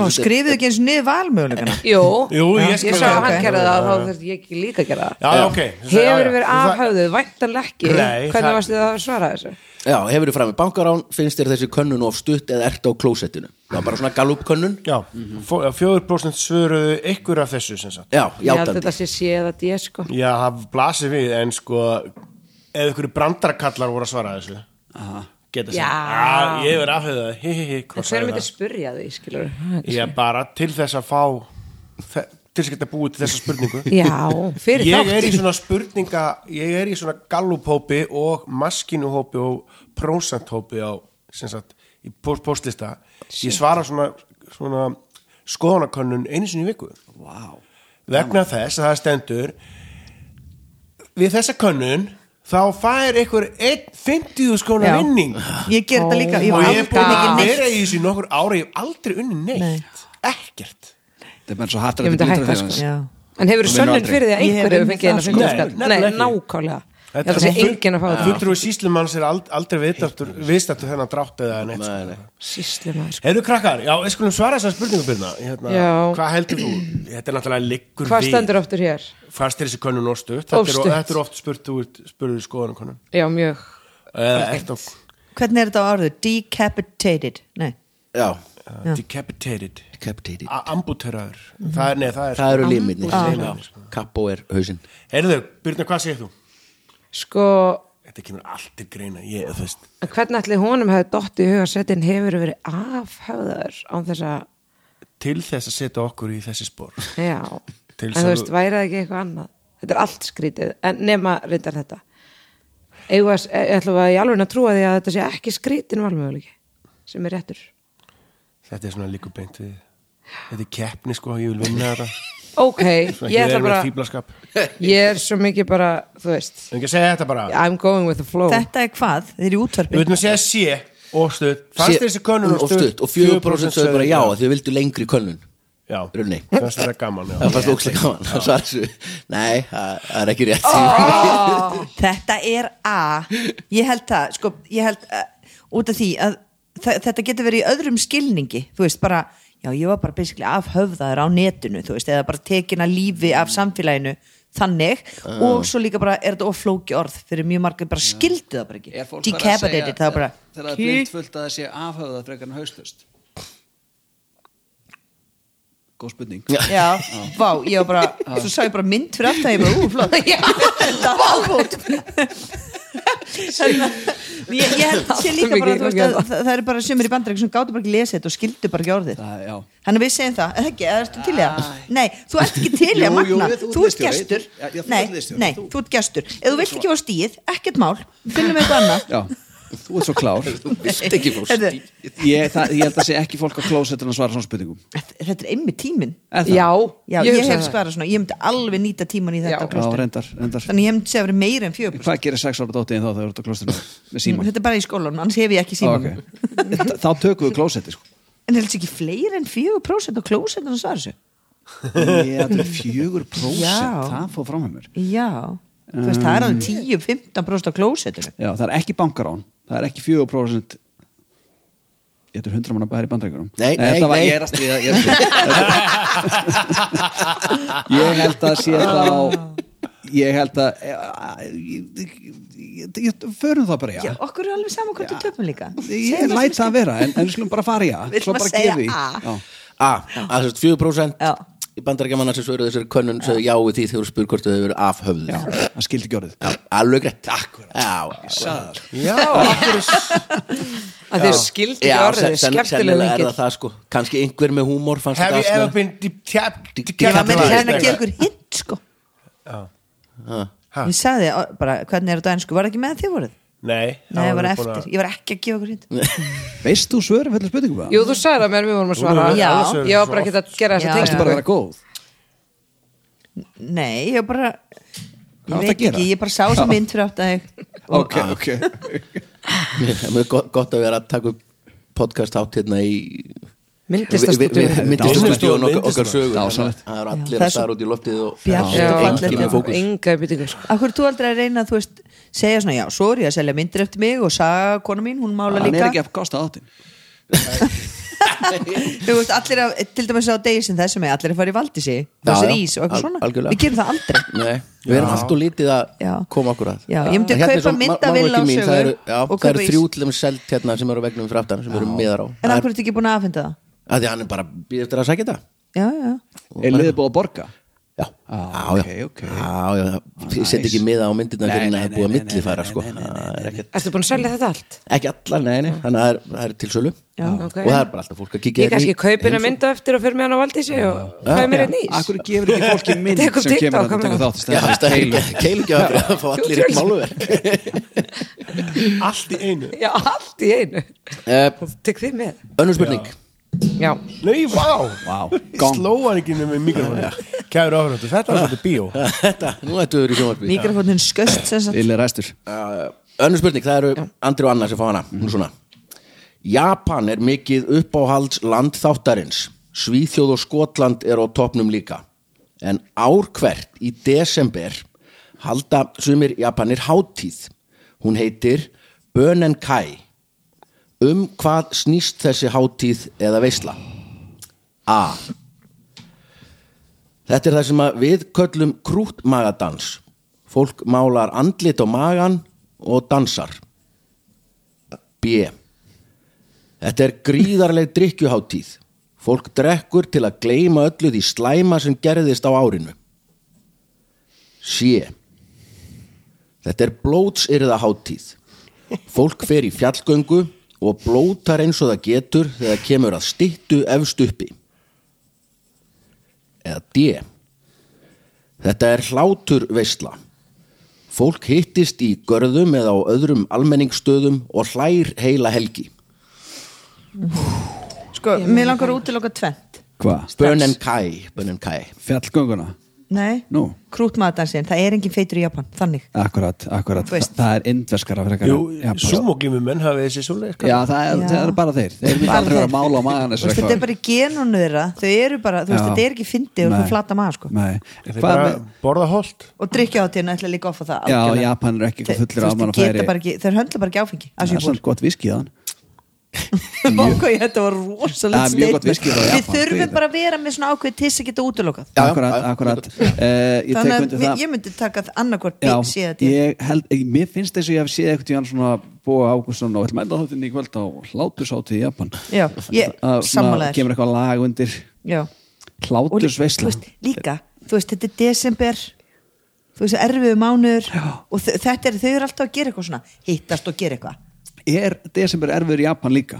S2: Ná, skrifuðu ekki eins og niður valmögulegana
S5: Jú,
S3: Jú, ég skil
S5: sá að
S3: það.
S5: hann
S2: Ok.
S5: gerði það þá þurfti ég ekki líka að gera það
S3: Já, ok.
S5: Hefur
S3: Já, já.
S5: verið
S3: Það-
S5: afhauðuð, væntanlega ekki
S3: Nei, það-
S5: Hvernig varst þið að svara þessu?
S1: Já, hefur þið fram í bankarán, finnst þér þessi könnun of stutt eða ert á klósettinu? Það var bara svona galupkönnun
S3: já, fó- 4% svöruðu ykkur af þessu sem sagt
S1: Já,
S5: Ég held að
S1: játandi
S5: þetta sé séð að ég sko
S3: Já, það blasir við, en sko eða ykkur brandarakallar voru að svara þessu Geta sem
S5: Já.
S3: Ég er afhengið það, hi hi hi hvað
S5: En hver
S3: sagði
S5: myndi
S3: það?
S5: spurja því, skilur
S3: Ég bara til þess að fá þe- til þess að geta búið til þessa spurningu
S5: Já, fyrir
S3: Ég er í
S5: þáttin
S3: svona spurninga ég er í svona gallupópi og maskinuhópi og prósenthópi á, sem sagt, í post postlista ég svara svona, svona skoðanakönnun einu sinni í viku
S4: Vá
S3: vegna þess að það stendur við þessa könnun þá fær ykkur einn 50 skona
S2: Já.
S3: vinning
S2: Ég ger þetta líka, ég
S3: og
S2: var
S3: ég er
S2: aldrei
S3: búin að
S2: mikið
S3: vera
S2: neitt
S3: í þessu í nokkur ára ég hef aldrei unni neitt
S2: Nei.
S3: ekkert
S4: Það er bara svo hattur
S5: Ég myndi hætta, sko.
S4: hans
S2: Já.
S5: En hefur
S4: Þú vinnur
S5: sönnun
S4: aldrei.
S5: fyrir því að
S2: Ég hef
S5: einhver hefur
S2: unnið
S5: fengið
S2: það,
S5: hérna
S2: sko.
S5: fyndaskatt
S3: Nei,
S5: Nei,
S3: nefnilega ekki.
S5: nákvæmlega Ég held að sé enginn að fá það
S3: Fulltrúi síslumanns er ald- aldrei viðstættur viðstættur þennan drátt eða neitt nei, nei.
S5: Sýslu maður
S3: Heyrðu krakkar, já, við skulum svara þessar spurningu byrna hérna,
S5: Já.
S3: Hvað heldur þú? Þetta er náttúrulega liggur
S5: Hvað stendur áttur hér?
S3: Fast er þessi könnun of stutt Þetta
S5: Of
S3: er-
S5: stutt.
S3: Þetta er oft spurt úr spurður skoðanum könnun
S5: Já, mjög
S3: Eða ert á
S2: Hvernig er þetta á orðu? Decapitated Nei,
S1: Já,
S3: uh, decapitated
S1: captated
S3: A- Ambuteraður Það er, nei, það er
S1: Það eru limitnir
S2: Ah.
S1: Já. Kappo er hausinn
S3: Heyrðu, Byrna, hvað segir þú?
S5: Sko,
S3: Þetta kemur allt til greina Ég, þú veist
S5: en hvernig ætli honum hefði dott í huga setin hefur verið afhauðar án þess að,
S3: Til þess að setja okkur í þessi spór
S5: já
S3: Til
S5: En
S3: þess
S5: þú
S3: að-
S5: veist, væri það ekki eitthvað annað Þetta er allt skrítið, en nema reyndar þetta Eigum við að, e- ætlum við að ég alveg að trúa því að þetta sé ekki skrítin valmöguleiki sem er réttur
S3: Þetta er svona líkur beint við Þetta er keppni, sko, ég vil vinna þetta
S5: Ok,
S3: Svona
S5: ég
S3: ekki
S5: ætla
S3: vera með
S5: bara
S3: fíblaskap
S5: Ég er svo mikið bara, þú veist
S3: En ekki að segja þetta bara
S5: I'm going with the flow
S2: þetta er hvað? Þeir eru í
S3: Við
S2: útvarpi
S3: veitum að segja sé og stutt Fannst þér þessi könnun
S1: og stutt og 4% sögðu bara já að þið vildu lengri könnun
S3: Já,
S1: Runni.
S3: fannst þetta gaman já.
S1: Það fannst ókslega gaman að svara þessu Nei, það það er ekki rétt
S2: Þetta er A Ég held það, sko, ég held uh, út af því að þa- þetta getur verið í öðrum skilningi þú veist, bara, já, ég var bara basically afhöfðaður á netinu, þú veist, eða bara tekin að lífi af samfélaginu þannig,
S4: Ah.
S2: og svo líka bara er þetta oflóki orð fyrir mjög margir, bara skildi það bara
S4: Er
S2: ekki
S4: fólk bara að segja
S2: decapitated, það er bara
S4: Þegar það er blindfullt að það sé afhöfðað frekar en hauslust Góð spurning
S2: Já, vá, ég var bara Svo sá ég bara mynd fyrir aftan, ég bara, ú, flott Þetta var ábútt Ég, ég held sé líka bara, þú veist, að, það, það er bara sömur í bandarík sem gátu bara ekki lesið þetta og skildu bara ekki orðið
S4: Það, já
S2: Þannig að við segjum það, eða ekki, eða ertu til í það? Nei, þú ert ekki til í
S4: Jú,
S2: það,
S4: jú,
S2: Magna,
S4: við- þú
S2: þú
S4: ert
S2: ert
S4: leikstjóri.
S2: gestur
S4: Já, já, þú
S2: Nei,
S4: ert leikstjóri,
S2: nei,
S4: þú.
S2: þú ert gestur Ef þú vilt ekki fá stíð, ekkert mál, finnum við eitthvað annað
S4: Já Þú ert svo klár
S1: Þú vilt ekki fá
S2: Heyrðu.
S1: stíl
S4: ég, það, ég held að sé ekki fólk á klósettun að svara svona spurningum
S2: þetta er einmitt tíminn
S4: Er það?
S5: já,
S2: Já, ég,
S5: hugsa
S2: hef
S5: það.
S2: svarað svona, ég myndi alveg nýta tíman í
S5: Já.
S2: þetta á
S4: Já,
S2: klaustri.
S4: reyndar, reyndar
S2: Þannig ég myndi segja að vera meira en fjögur
S4: Hvað gerir sex ára dóttiðin þá þegar þú ert á klósettun með síman?
S2: Þetta er bara í skólanum, annars hef ég ekki
S4: Ó,
S2: síman
S4: ok. Þa- Þá tökum við klósetti sko
S2: En er þetta ekki fleiri en fjögur prósent á klósetinu að svara þessu?
S4: Já, þetta er fjögur prósent
S2: Já.
S4: Það fór fram með mér
S2: Já, þú veist, það er
S4: Um,
S2: alveg 10-15 prósent á klósetinu
S4: Já, það er ekki bankarán Það er ekki fjögur prósent Þetta er hundra manna bæri bandreikunum
S1: Nei, nei,
S4: þetta var,
S1: nei.
S4: Ég er að stríða Ég, er að stríða. ég held að sé þá Ég held að eh, ég, ég, ég, ég, Förum það bara, já,
S2: Já, okkur er alveg saman hvort við töpum líka
S4: Ég læt það vera, en, en við skulum bara fara í að
S2: Við
S4: Svo
S2: ætlum að
S4: bara
S2: segja
S4: gefi
S2: A.
S4: Já.
S1: A, að þess að 4%
S2: Já.
S1: í bandarækjamanna sem svöruðu þessari könnun sögðu já við því þegar þú spyr hvort þau hefur verið af höfðu
S4: Já, það skildi ekki orðið
S1: alveg greitt já,
S3: Já, akkur
S5: að þeir skildi
S1: já
S5: ekki orðið,
S1: sen- sen-
S5: skemmtilega
S1: sennilega er
S5: lengi
S1: það það sko kannski einhver með húmor fannst
S3: Have you ever
S1: þetta
S3: been deep tap
S2: Ég var með að
S1: Capitalized,
S2: hérna að gera ykkur hint, sko
S1: sko.
S4: Ah.
S2: Ég sagði ó, bara, hvernig er þetta ennsku, var það ekki með þið voruð?
S3: Nei,
S2: Nei, ég var eftir, ég var ekki að gefa ykkur hint
S4: Veist þú svörum fyrir spurningum það?
S5: Jú, þú sagði það mér, við vorum að
S3: Þú voru
S5: svara
S3: alveg
S2: Já.
S3: svöruð
S5: Ég var
S3: svo
S5: bara ekki að gera
S2: Já,
S5: þess að
S4: Varstu
S5: tengja
S4: bara að vera góð?
S2: Nei, ég var bara
S4: Hvað varstu
S2: Ég
S4: að
S2: veit
S4: gera?
S2: ekki, ég bara sá sem mynd fyrir átt að
S4: Ok, ok
S1: mjög gott- gott að vera að taka upp podcast átt hérna í
S5: Myndlistarstúdíóinu.
S1: myndistastúdíu og
S3: Myndlistarstúdíóinu.
S1: okkar sögur
S4: Dásamlegt.
S1: það eru
S2: Já,
S1: allir
S2: það er
S1: að stara út í loftið og
S2: bjart
S1: Já,
S2: og
S1: enginn
S2: fallegt.
S1: með fókus
S5: Enga byrtingur sko.
S2: Akkur er þú aldrei að reyna, þú veist segja svona, já, sorry að selja myndir eftir mig og saga kona mín, hún mála
S4: Hann er
S2: líka
S4: ekki að kosta áttin
S2: Þú veist, allir að, til dæmis á degi sem þessum er allir að fara í valdísi, þessir
S1: já,
S2: ís og
S1: al-
S2: eitthvað svona
S1: algjörlega.
S2: Við gerum það aldrei
S1: Nei, við erum allt og lítið að
S2: Já.
S1: koma okkur að
S2: Já, ég myndi
S1: En hérna er
S2: kaupa
S1: svo
S2: mynd af
S1: ma- málverki
S2: Villa og
S1: mín, það
S2: Sögu
S1: eru- Já,
S2: og
S1: það eru
S2: kaupa ís.
S1: þrjú til þeim selt hérna sem eru á vegnum fyrir aftan sem eru miðar á
S2: En
S1: Það
S2: af
S1: er-
S2: hverju ertu ekki búin að afhenda það?
S1: að Því hann er bara býð eftir að sækja þetta
S2: Já, já,
S4: Er liðið búið að borga?
S1: Já,
S4: Ah, ok, ok.
S1: já, já, ég seti
S4: nice.
S1: ekki miða á myndirna
S4: Nei,
S1: fyrir en
S4: nei,
S1: það er
S4: nei,
S1: búið að
S4: nei,
S1: millifæra
S4: nei,
S1: sko
S4: nei, nei, nei,
S1: Það er ekkert-
S5: Ertu búin að selja þetta allt?
S1: Ekki allar, nei, nei, þannig að það er- það er til sölu og
S5: ok.
S1: það er bara alltaf fólk að kíkja
S5: Ég
S1: hérna í-
S5: kannski kaupin að mynda eftir og fyrir með hann á Valdísi og hvað er mér einn ís?
S4: Akkur gefur ekki fólki mynd
S5: Tekur
S4: sem
S5: TikTok,
S4: kemur að
S5: komum
S4: taka
S5: við.
S4: þátt í
S1: Já,
S4: staðinn fyrir
S1: það
S4: keilu?
S1: er keilugjöf að fá allir eitt máluverk
S3: Allt í einu
S5: Já, allt í einu
S1: Eh,
S5: Tek þið með
S1: Önnur spurning
S5: Já,
S3: Nei, vá,
S4: Vá, gong.
S3: slóan ekki með mikrofónu Kæru áhverjöndu, þetta var svolítið bíó
S1: Þetta, nú ættu við verið í sjónvarpi
S2: mikrofónin sköst sem sagt
S4: Lille ræstur
S1: Uh, önnur spurning, það eru Andri og Anna sem fá hana hún er svona Japan er mikið uppáhalds landþáttarins Svíþjóð og Skotland er á topnum líka en ár hvert í desember halda sumir Japanir hátíð hún heitir Bönenkai um hvað snýst þessi hátíð eða veisla A Þetta er það sem að við köllum krútmagadans. Fólk málar andlit á magan og dansar. B. Þetta er gríðarleg drikkjuháttíð. Fólk drekkur til að gleyma öllu því slæma sem gerðist á árinu. C. Þetta er blótsyrðaháttíð. Fólk fer í fjallgöngu og blótar eins og það getur þegar kemur að styttu efst uppi eða D Þetta er hlátur veisla Fólk hittist í görðum eða á öðrum almenningsstöðum og hlær heila helgi
S2: Sko, mér langar út til okkar tvent
S4: Hva?
S1: Bönen Kai, Bönen Kai.
S4: Fjallgönguna?
S2: Nei,
S4: Nú.
S2: krútmatansinn, það er engin feitur í Japan, þannig
S4: Akkurat, akkurat
S2: Þú veist.
S4: Það er indverskara frekar
S3: Jú,
S4: en- Já, bara-
S3: sumoglími menn hafið þessi sko. svoleið
S4: Já, það er,
S2: Já.
S4: það er bara þeir Þeir mynda
S2: Bara
S4: aldrei vera að
S2: þeir.
S4: mála á magan
S2: Þú veist, Þetta er bara í genunum þeirra, þau eru bara, þú veist,
S4: Já.
S2: þetta er ekki fyndið og
S4: Nei.
S2: þú flata maður, sko
S4: Nei
S3: Þeir
S4: Hvað
S3: bara
S4: með
S3: borða holt
S2: Og drikkja á tíðan ætla líka offa það
S4: Já,
S2: algjörlega.
S4: Japan er ekki
S2: Þe-
S4: eitthvað fullir
S2: þú
S4: af
S2: veist,
S4: mann og
S2: þeir geta
S4: færi
S2: bara ekki- Þeir höndla bara ekki áfengi,
S4: Það er
S2: Asjubor
S4: svona gott viskið hann
S2: Bóka, ég þetta var rosalegt
S4: Það er mjög gott
S2: statement.
S4: viskí frá
S2: Við
S4: Japan,
S2: þurfum
S4: fyrir.
S2: bara að vera með svona ákveð til þess að geta útilokað
S1: Já, já,
S4: Akkurat,
S1: já.
S4: akkurat Eh, Ég tek
S2: Þannig
S4: undir það
S2: að ég myndi taka annarkvort
S4: Já,
S2: bíl síða þetta
S4: ég held, ég, mér finnst þess að ég hef séð eitthvað tíðan svona Bóa Ágússon og ætlum enda þáttinni í kvöld á hlátursáti í Japan
S2: Já, ég
S4: Að svona
S2: sammála þér.
S4: kemur eitthvað lag undir
S2: Já. Og lí-
S4: hlátursveisla
S2: þú veist, Líka, þú veist, þetta er desember þú veist, erfiðu mánuður og þe- þetta er, þau eru alltaf að gera eitthvað svona hittast og gera eitthvað
S4: er desember erfiður í Japan líka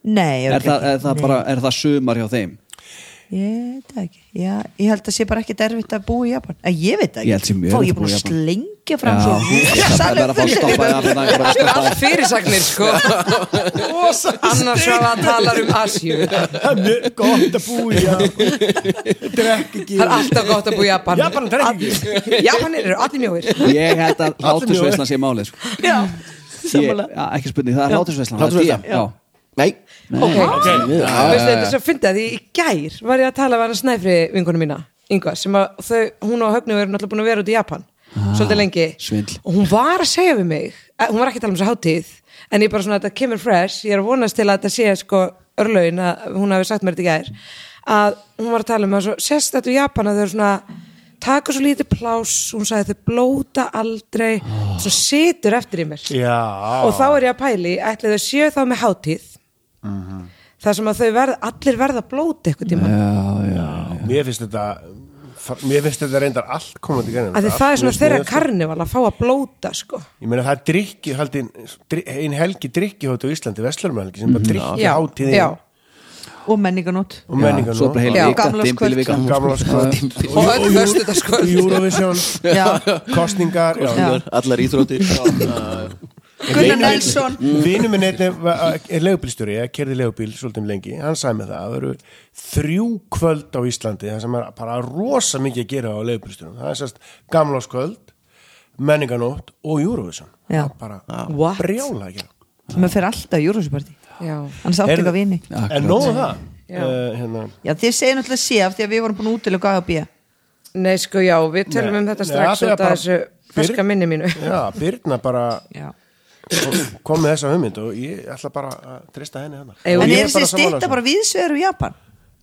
S2: Nei, ég
S4: er
S2: veit
S4: það,
S2: ekki.
S4: er, það
S2: Nei.
S4: bara, er það sumar hjá þeim
S2: Ég veit það ekki Já, ég held að sé bara ekki derfitt að búa í Japan að Ég veit það ekki
S4: Ég held sé mjög
S2: Fá,
S4: erfitt
S2: ég
S4: að
S2: búin
S4: búa í
S2: að
S4: Japan.
S2: slengja
S4: Já,
S2: fram
S4: það er bara að fá að stoppa það bara að
S5: Þetta er
S4: stoppa
S5: allt fyrirsagnir sko annars var það talar um Asju það
S3: Það er mjög gott að búja Drekk ekki
S5: er alltaf gott að búa í Japan
S3: Japan drekk ekki
S5: Japanir eru allir mjóir
S4: það. Ég held að hlátursveislan sé málið sko.
S2: Já,
S4: Ég-
S2: samanlega
S4: Já, Ekki spurning, það er hlátursveislan það er
S1: Hlátursveislan,
S4: DM, já.
S1: Nei,
S5: ok,
S1: miður.
S5: Veistu, þetta er svo fyndið að því í gær var ég að tala við hann að snæfri vingunum mína Inga, sem að þau, hún og Högnu eru náttúrulega búin að vera út í Japan svolítið lengi
S4: svindl.
S5: og hún var að segja við mig eh, hún var ekki að tala um þessu hátíð en ég bara svona, þetta kemur fresh, ég er að vonast til að þetta sé sko örlaun að hún hafi sagt mér þetta í gær að hún var að tala um að svo, sérst þetta í Japan að þau eru svona taka svo lítið pláss, hún sagði þau blóta aldrei, svo situr eftir í mér
S3: Já
S5: og þá er ég að pæli ætli þau séu þá með hátíð
S3: Mhm.
S5: þar sem að þau verð, allir verða blóti eitthvað tíma
S3: Mér finnst þetta Mér finnst þetta reyndar allt komandi gerðin
S5: að því það er svona þeirra karnival að fá að blóta sko.
S3: sko- Ég meina það er drikki, haldin, ein helgi drikki á Íslandi, Vestlurumhelgi sem bara drikki
S5: Mhm. já,
S3: hátíðin
S5: já.
S2: Og menninganót
S3: og menningan
S4: Svo bara heil
S5: Já,
S4: vika,
S2: gamlárskvöld.
S4: dimbili vika
S3: Gamla sko
S5: og öll föstu þetta sko
S3: Eurovision
S2: Já.
S3: kostningar
S2: Já.
S1: allar íþróttir
S2: Gunnar Nelson
S3: Vinnu Mm. minn einnig eh, er leigubílstjóri, ég kerði leigubíl svolítið um lengi, hann sagði með það, það eru þrjú kvöld á Íslandi, það sem er bara rosa mikið að gera á leigubílstjórum, það er sérst gamláskvöld, menninganótt og Eurovision,
S2: Já.
S3: það er bara
S5: What?
S3: brjála að gera.
S2: Mér fer alltaf í Júrósuparti
S5: já,
S2: Annars átti ekki að vini
S3: En nóðu það,
S5: Já.
S3: uh, hérna,
S2: Já, þið segir náttúrulega sé af því að við vorum búin að útilega að bíja
S5: nei sko já, við tölum um þetta
S3: Nei,
S5: strax
S3: það er
S5: út af
S3: bara-
S5: þessu ferska minni mínu
S3: já, Birna bara
S2: Já
S3: kom með þessa hugmynd og ég ætla bara að trista henni hana.
S5: Ey,
S3: Og
S5: hún-
S2: En
S3: ég
S2: er þessi
S3: bara sammála
S2: stýta
S3: þessu.
S2: bara viðsvegur um Japan?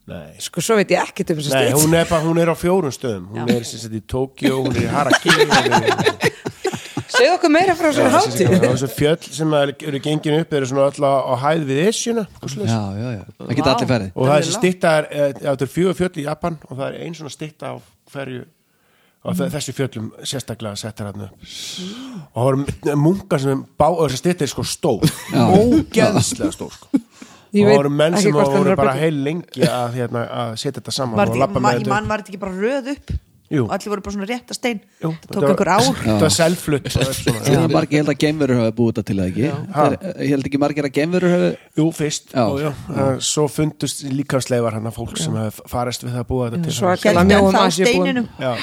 S3: Nei,
S5: sko svo veit ég ekkert um þess
S3: Nei,
S5: að
S3: hún er, bara, hún er á fjórum stöðum Hún er sem sagt í Tókjó, hún er í Haraki hún er í-
S5: segðu okkur meira frá þessu
S3: Það er sem
S5: hátíð
S3: sagt- það er Þessu fjöll sem að eru gengin upp eru svona öll á á hæð við Esjuna og svoleiðis.
S4: Já, já, já, það geta allir ferði
S3: og það er þessi stytta er, eh, já, þetta er fjögur fjöll í Japan og það er ein svona stytta á hverju og mm. þessu fjöllum sérstaklega settir hann upp og það voru munkar sem bá og þessi stytta er sko stór ógeðslega stór sko. og
S5: Ég
S3: það
S5: veit
S3: voru menn
S5: ekki
S3: sem
S5: hvort hann er
S3: voru
S5: að
S3: bara
S5: byggja.
S3: heil lengi að, hérna, að setja þetta saman
S2: Var
S3: og
S2: því,
S3: labba
S2: ma
S3: með
S2: í
S3: þetta upp.
S2: mann var þetta ekki bara röð upp
S3: Jú.
S2: Og allir voru bara svona rétta stein
S3: Jú,
S2: Það tók
S3: þetta
S2: einhver
S3: var-
S2: ár
S3: þetta var selflutt og allt svona.
S4: Það er margir, ég held að geimverur hafa búið þetta til það ekki Það er- Ég held ekki margir að geimverur hafa
S3: Jú, fyrst
S4: Já.
S3: og já, já. Svo fundust líkafsleifar hann að fólk sem hefði farist við það að búa þetta til
S5: svakalega.
S2: Héldu
S5: Mjóum
S1: Hérna
S2: ennþá á
S5: Asíu búum.
S2: steininum
S3: Já.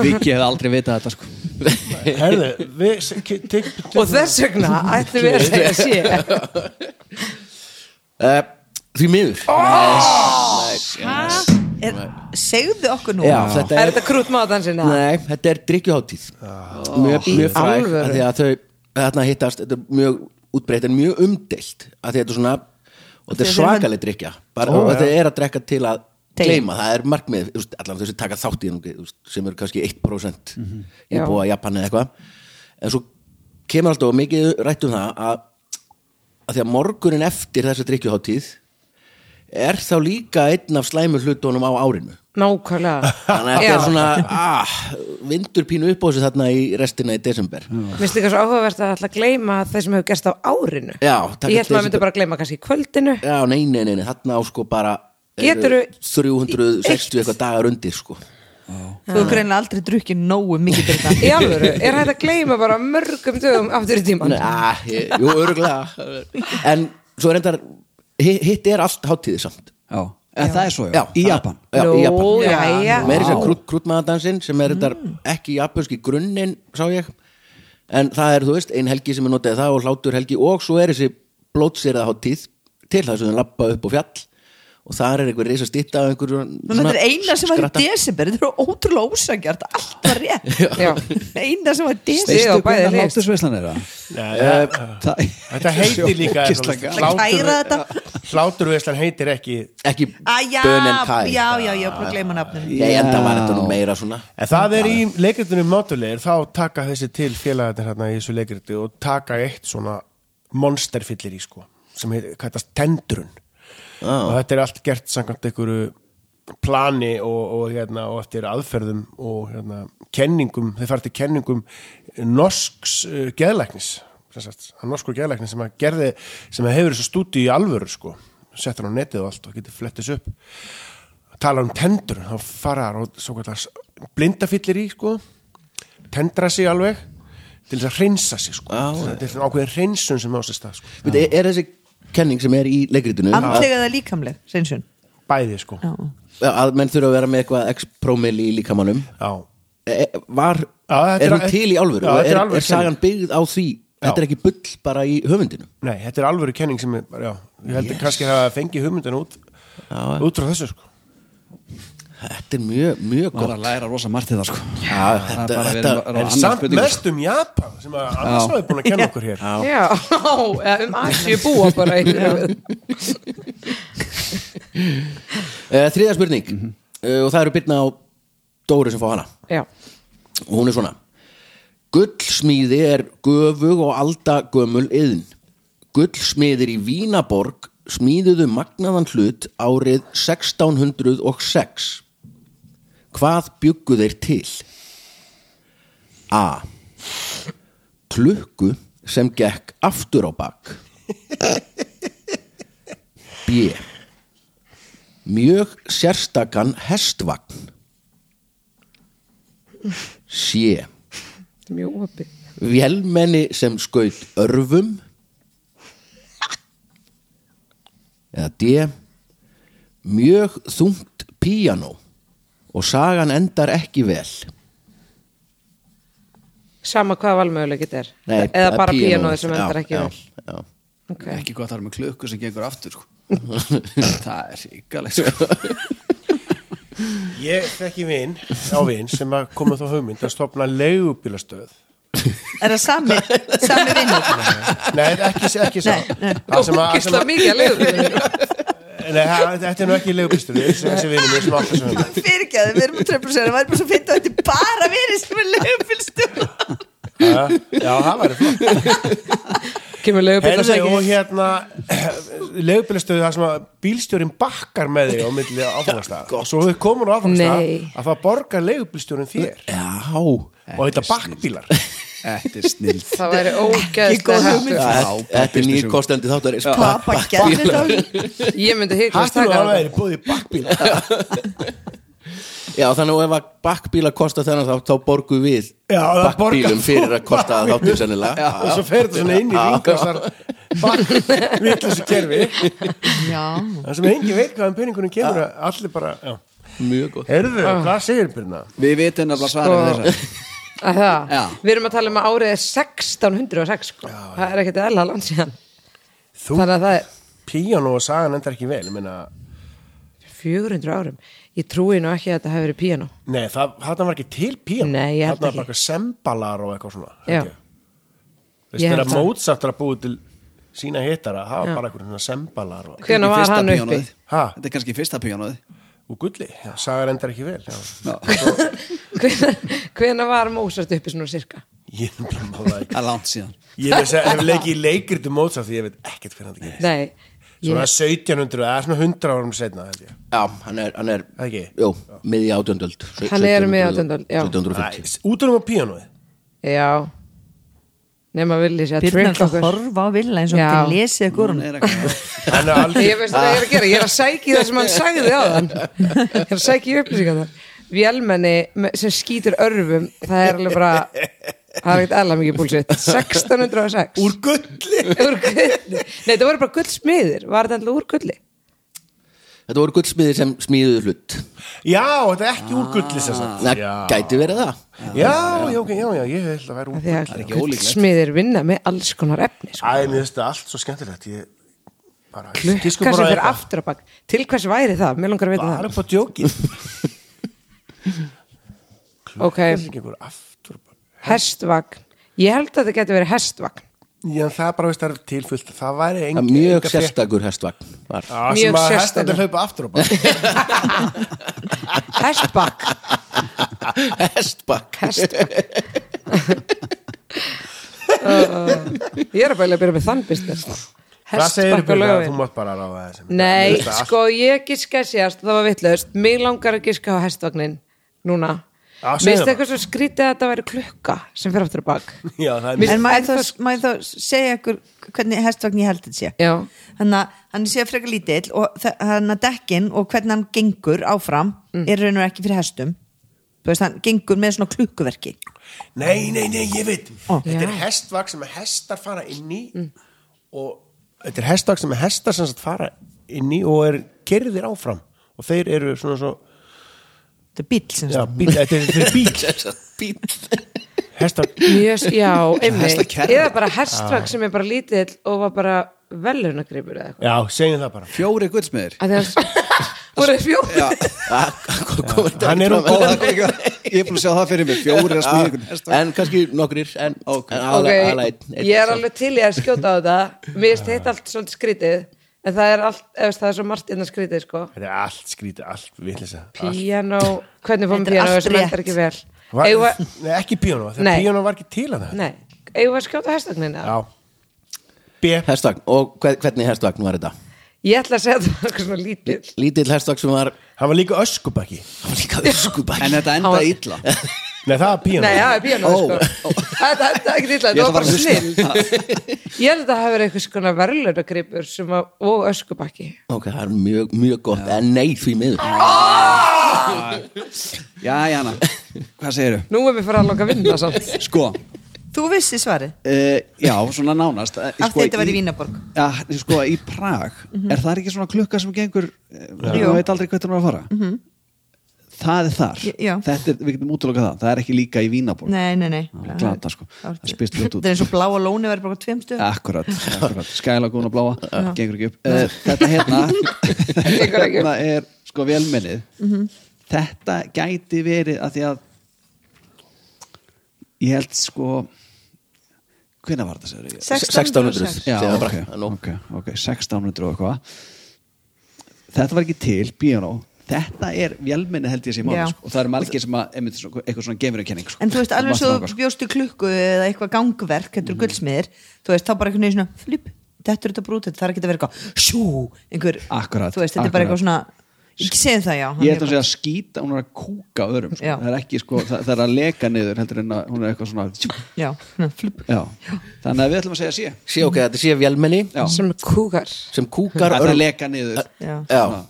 S4: Viki hefði aldrei vitað þetta sko
S3: Herðu, við s- k- tek-
S5: og þess vegna ættum við að segja sé
S1: uh, Því miður
S2: er, Segðu okkur nú
S1: Já, þetta
S5: er
S1: er,
S5: þetta krút mátansin
S1: nei, þetta er drikkjuháttíð Mjög,
S5: Í
S1: mjög fræg
S5: alvöru?
S1: af því að þau, þarna hittast Þetta er mjög útbreytt en mjög umdeilt að því að þetta er svona og þetta er
S2: Þegar þeir-
S1: svakaleg drikja bara, og þetta er að drekka til að
S2: Deyja.
S1: gleyma það er markmið, þú veist, allan þau sem taka þátt í henni, þú veist, sem eru kannski 1% mm -hmm.
S5: Mhm. Já.
S1: íbúa Japan eða eitthvað en svo kemur alltaf og mikið rætt um það að, að því að morgunin eftir þessa drikkjuháttíð er þá líka einn af slæmu hlutunum á árinu
S5: nákvæmlega
S1: þannig að þetta
S5: Já.
S1: er svona ah, vindur pínu upp á þessu þarna í restina í desember
S5: Mér finnst líka svo áhugavert að alltaf gleyma það sem hefur gerst á árinu
S1: Já, takk
S5: Ég held maður
S1: fyrir
S5: myndi bara að gleyma kannski í kvöldinu
S1: já, nei, nei, nei, nei, þarna á sko bara eru
S5: Geturðu-
S1: 360 eitthvað dagar undir sko
S2: Þú hefur greinlega aldrei drukkið nógu mikið fyrir
S5: Í alvöru, er hægt að gleyma bara mörgum dögum aftur í tíman
S1: Nei, ah, ég- jú, öruglega en svo er endar hitt er allt hátíði samt
S4: Já, en það er svo já, í
S1: það-
S4: Japan
S1: já,
S5: Nú,
S1: í Japan
S5: jæja.
S1: meiri sér krút, krútmaðadansinn sem er
S2: Mm.
S1: þetta ekki japanski grunninn sá ég en það er þú veist ein helgi sem er notaði það og hlátur helgi og svo er þessi blótsýrða hátíð til það sem þau lappa upp á fjall og þar er einhver reysa stitta af einhver svona-
S2: Nú, þetta er eina sem var í
S1: skratta.
S2: desember Þetta er ótrúlega ósangjart, allt var rétt
S5: Já.
S2: Eina sem var í desember
S5: Stig á
S4: Veistu
S5: bæði
S4: hvernig
S5: lið.
S4: hlátursveislan er það?
S3: Nei, það-
S4: Það-
S3: Þetta heitir líka
S4: Eh, Ógeðslega gaman.
S2: Það kæra þetta
S3: Hláturveislan heitir ekki
S1: ekki
S2: Æja,
S1: Bönen Kai
S2: já, já, já, bara gleyma nafnum
S1: ég enda var þetta nú meira svona
S3: En það er í leikritunum mátulegir þá taka þessi til félagarnir hérna í þessu leikriti og taka eitt svona monsterfyllir í sko sem heit- kallast tendrun
S1: Já.
S3: og þetta er allt gert samkvæmt einhverju plani og, og, hérna, og eftir aðferðum og hérna, kenningum, þeir fara til kenningum norsks uh, geðlæknis sem sagt, hann norskur geðlæknis sem að gerði, sem að hefur þessu stúdíu í alvöru sko settur hann á netið og allt og getur flettis upp tala um tendur þá fara þar og svo kallar blindafillir í sko tendra sig alveg til þess að hreinsa sig sko
S1: Já,
S3: þetta er svona ákveðin hreinsun sem á sér stað sko.
S1: Veit, er, er þessi kenning sem er í leikritinu að,
S2: Andlega eða líkamleg, seinsjón
S3: bæði sko
S2: Já,
S1: að menn þurfa að vera með eitthvað x promil í líkamannum
S3: Já.
S1: e, var,
S3: Já, þetta er
S1: er hún
S3: að-
S1: til í alvöru
S3: Já,
S1: Og
S3: þetta er
S1: er,
S3: alvöru
S1: er sagan byggð á því þetta er ekki bull bara í höfundinu
S3: Nei, þetta er alvöru kenning sem er, já, ég heldur
S1: Yes.
S3: yes. kannski að fengi hugmyndina út,
S1: Já.
S3: út frá þessu sko.
S1: þetta er mjög, mjög
S4: Bara
S1: gott
S4: að læra rosa margt þetta sko
S1: Já,
S4: Það
S1: þetta,
S4: er bara
S1: þetta,
S4: verið að-
S3: En
S4: annars sko.
S3: samt
S4: spurningu,
S3: mest um Japan sem að annars hafa búin að kenna okkur hér.
S5: Já, eða um Asju búa bara í
S1: Eh, Þriðja spurning
S3: Mhm.
S1: Eh, og það eru byrna á Dóri sem fá hana
S5: Já,
S1: og hún er svona Gullsmíði er göfug og alda gömul yðn Gullsmiðir í Vínaborg smíðuðu magnaðan hlut árið 1606 Hvað bjuggu þeir til? A Klukku sem gekk aftur á bak B Mjög sérstakan hestvagn C
S5: þetta er mjög opið
S1: Vélmenni sem skaut örfum eða D Mjög þungt píanó og sagan endar ekki vel
S5: Sama hvað valmöguleg þetta er
S1: Nei,
S5: Eða
S1: eh,
S5: bara
S1: píanóið.
S5: píanóið sem
S1: Já,
S5: endar ekki
S1: já,
S5: vel
S1: já.
S5: okay.
S4: Ekki gott að það er með klukku sem gengur aftur sko. Það er ríkalegt sko.
S3: Ég þekki vin, á vin, sem að koma þá hugmynd að stopna leigubílastöð.
S2: Er það sami, sami vinnur?
S3: Nei, ekki, ekki sá.
S2: Nei, nei.
S3: Það sem að, sem
S5: Ógisla
S3: að,
S5: mikið að leiðu
S3: nei, það- þetta er nú ekki leigubílastöð, þessi, þessi vinur mér sem átti sem hugmynd.
S2: Fyrirgjáðu, við erum að trefla sér Það væri bara svo fint að þetta er bara verið sem er lögfylstu
S3: Já, Já, það væri flott.
S5: Kemur leiðubíl að
S3: Herði, og
S5: segja
S3: hérna, leigubílastöð það sem að bílstjórin bakkar með þig á milli áfangastæða. Og svo þau komur á áfangastæða
S5: Nei.
S3: að það borgar leigubílstjórin þér.
S1: Já
S3: og þetta bakkbílar
S4: Þetta er snild
S5: Það væri
S2: Ekki góð
S5: ógeðslega
S2: hugmynd.
S5: hættu
S1: Já, Þetta er
S4: fyrstu
S1: nýr
S4: sögur.
S1: kostandi þáttar
S2: Pappa gerði þá
S5: Ég myndi hygglast
S3: Hættu nú
S5: taka
S3: að
S5: það.
S3: vera búið í bakkbílar
S1: Já, þannig að ef að bakbíla kosta þennan þá, þá borgu við
S3: Já, það borgar
S1: bakbílum
S3: þú.
S1: fyrir að kosta þáttir sennilega
S3: og svo fer þetta svona inn í ringkastar bakk vitlausu kerfi
S2: Já,
S3: það sem engin veit hvaðan peningunum kemur að allir bara já.
S1: Mjög gott
S3: heyrðu, hvað segir Birna?
S4: Við vitum nefnilega svara
S5: Sko,
S4: við þessa
S5: Að
S4: Já.
S5: Það, við erum að tala um að árið er 1606 sko. það er ekkert eðla land síðan
S3: þú,
S5: þannig að það er
S3: píano og sagan endar ekki vel ég meina,
S5: 400 árum ég trúi nú ekki að þetta hafi verið píano
S3: nei, það, þarna var ekki til píano
S5: Nei, ég held
S3: þarna var
S5: ekki.
S3: bara eitthvað sembalar og eitthvað svona
S5: Já.
S3: held ég. Veist,
S5: Ég held
S3: þegar
S5: það.
S3: Mozart er að búið til sína hittara, það var bara eitthvað svona sembalar og,
S5: hvenær var
S4: Fyrsta
S5: hann uppi?
S4: píanóið.
S3: Ha?
S4: Þetta er kannski fyrsta píanóið
S3: og gulli, já, sagan endar ekki vel já.
S4: Það
S5: hvenær var Mozart uppi svona cirka?
S3: ég er bara maður það ekki
S4: er langt síðan
S3: Ég hef, hef leikið í leikritu Mozart því ég veit ekkert hvernig þetta gerist.
S5: Nei, ég,
S3: Svona 1700 eða svona 100 árum setna held ég.
S1: Já, hann er, hann er
S3: Ekki?
S1: Jú, miði átjöndöld
S5: Hann er um miðja átjándu öld, já.
S1: 1750
S3: Æ, Útunum á píanóið.
S5: já nema vilji sé að
S2: Byrna
S5: trick
S2: alltaf að
S5: okkur
S2: horfa á Villa eins og
S5: Já.
S2: hann til lesið að
S4: Hún
S2: górum
S4: er eitthvað-
S3: Hann er aldrei
S5: ég veist hvað ég er að gera, ég er að sæki það sem hann sagði á þann ég er að sæki upplýsingar þar vélmenni me- sem skýtur örfum það er alveg bara það er ekkert eðla mikið búlsitt 1606
S3: úr gulli.
S5: úr gulli Nei, þetta voru bara gullsmiðir, var þetta alltaf úr gulli
S1: Þetta voru gullsmiðir sem smíðuðu hlut
S3: Já, þetta er ekki úr gulli sem sagt.
S1: Það
S3: Já,
S1: gæti verið það
S3: já, já, ok, já, já, ég held að vera úr
S5: því
S3: gulli.
S5: að
S4: ekki ólíklegt.
S5: gullsmiðir vinna með alls konar efni sko.
S3: Æ, mér finnst þetta allt svo skemmtilegt. Ég bara,
S5: klukka
S3: gískum
S5: sem
S3: bara
S5: fyrir
S3: eitthvað.
S5: aftur á bak til hvers væri það, mér langar að vita
S3: Bara upp á djóki.
S5: það ok,
S3: Það er ekki einhver aftur.
S5: hestvagn ég held að það geti verið hestvagn
S3: Já, það er bara veist, það er tilfullt. Það væri engin.
S1: Mjög sérstakur hestvagn var.
S3: Já,
S5: Mjög
S3: sem að
S5: sérstakur.
S3: hestandi hlaupa aftur á bara.
S5: hestbakk,
S1: Hestbakk
S5: hestbakk uh, ég er að bæla að byrja með þann business
S3: Hvað segir Björn
S5: hestbakk og
S3: að þú
S5: lögin
S3: mátt bara ráða þessum?
S5: nei, sko ég giska sérst það var vitlaust, mig langar að giska á hestvagnin núna
S3: Já, segðu
S5: Mér
S3: það.
S5: finnst eitthvað svo skrítið að þetta væri klukka sem fyrir aftur á bak
S3: Já, það er
S5: Mér-
S2: en
S5: En
S2: maður
S5: það-
S2: þá, maður þá segja ykkur hvernig hestvagn ég held þetta sé
S5: Já.
S2: þannig að hann sé frekar lítill og þa- þannig að dekkin og hvernig hann gengur áfram er raun og ekki fyrir hestum þú veist, hann gengur með svona klukkuverki
S3: Nei, nei, nei, ég veit
S2: Ó.
S3: Þetta er
S5: Já.
S3: hestvagn sem að hestar fara inn í og þetta er hestvagn sem að hestar sem sagt fara inn í og er kerðir áfram og þeir eru svona svo
S2: þetta er bíl sem
S3: já,
S2: sagt.
S3: bíl, þetta er, þetta er bíl hestar,
S5: Mjög, já, einmitt
S4: Hestakerra.
S5: Eða bara hestvagn sem er bara lítill og var bara velunagripur eða
S3: já, segjum það bara
S4: Fjóri gullsmiður
S5: eitthvað Voru fjóri
S3: Hann
S1: hann
S3: er um góða-
S4: Ég er búin að sjá það fyrir mig, fjóri að smíða ykkur hesta
S1: en kannski nokkrir en,
S4: Ok.
S1: en
S5: Ok,
S1: aðalega- aðalega einn- einn-
S5: ég er alveg til ég að skjóta á þetta Mér finnst þetta allt svolítið skrítið En það er allt, ef það er svo margt innan skrítið sko
S3: Þetta er allt skrítið, allt vitlisa
S5: Piano, hvernig fórum
S2: Þetta er
S5: piano
S2: allt
S5: sem endar
S2: rétt.
S5: ekki vel Eigum við-
S3: Nei, ekki píónu, þegar
S5: Nei.
S3: píónu var ekki til að það
S5: Nei, eigum við að skjóta hérna? hestagnina?
S3: Já B,
S1: hestvagn og hver, hvernig hestvagn var þetta
S5: Ég ætla að segja þetta var eitthvað svona lítið
S1: lítill hestvagn sem var,
S3: hann var líka öskubakki
S1: hann var líka öskubæk
S4: En þetta enda
S5: Hann var-
S4: illa
S3: Nei, það var píónu
S5: Nei, já, það er píanó
S1: Ó.
S5: sko. Þetta þetta er ekki
S4: Ég
S5: illa, þetta var
S4: ætla bara
S5: bara
S4: að hlusta.
S5: snill Ég held að það hafi verið einhvers konar verðlaunagripur sem að, og öskubakki
S1: ok, það er mjög, mjög gott en nei því miður
S4: Já, Jana, hvað segiru?
S5: Nú er mér farið að loka að vinna samt
S4: Sko,
S2: þú vissi svarið,
S4: Uh, já, svona nánast Eh, Af
S2: af þetta var í Vínaborg
S4: Já, sko, í Prag er það ekki svona klukka sem gengur eh,
S2: Jú. Mhm.
S4: maður veit aldrei hvernig hún er að fara það er þar
S2: J- já.
S4: þetta er, við getum útlokað það, það er ekki líka í Vínaborg
S2: nei, nei, nei
S4: Það er glata, sko.
S2: Það
S4: Það spyrst fljótt út.
S2: er eins og blá og lóni verður bara á tveim stöðum
S4: akkurat, akkurat, skælagún og bláa gengur ekki upp, uh, þetta hérna
S5: Gengur ekki upp.
S4: þetta er sko velmennið
S2: Mhm.
S4: þetta gæti verið að því að ég held sko hvenær var þetta, segir ég?
S1: 1600
S4: Já,
S1: segðu það bara,
S4: ok,
S1: það er nóg.
S4: ok, ok, 1600 og eitthvað Þetta var ekki til, piano Þetta er vélminni held ég sem
S2: Já.
S4: máli sko. og það eru margir sem að, einmitt, svona- eitthvað svona gefurukenning sko.
S2: En þú veist, alveg
S4: Margt
S2: svo
S4: langar, sko.
S2: bjóstu klukku eða eitthvað gangverk,
S4: Mhm.
S2: þetta eru gullsmiðir þú veist, þá bara einhvern veginn svona flip, þetta er þetta brútið, það er ekki að vera eitthvað sjú, einhver,
S4: Akkurat,
S2: þú veist, þetta er
S4: akkurat.
S2: bara eitthvað svona ég segi það já, hann
S4: Ég ætla
S2: er
S4: að
S2: bara-
S4: segja að skýta, hún er að kúka öðrum sko.
S2: Já.
S4: það, er ekki, sko, það, það er að leka niður heldur en að hún er eitthvað svona
S2: já, svona flip
S4: Já. Þannig að við ætlum að segja sé
S1: sé ok, þetta sé vélmenni
S4: Já.
S5: sem kúkar
S1: sem
S4: Það
S1: kúkar
S4: er að
S1: örl-
S4: leka niður
S2: já.
S1: já.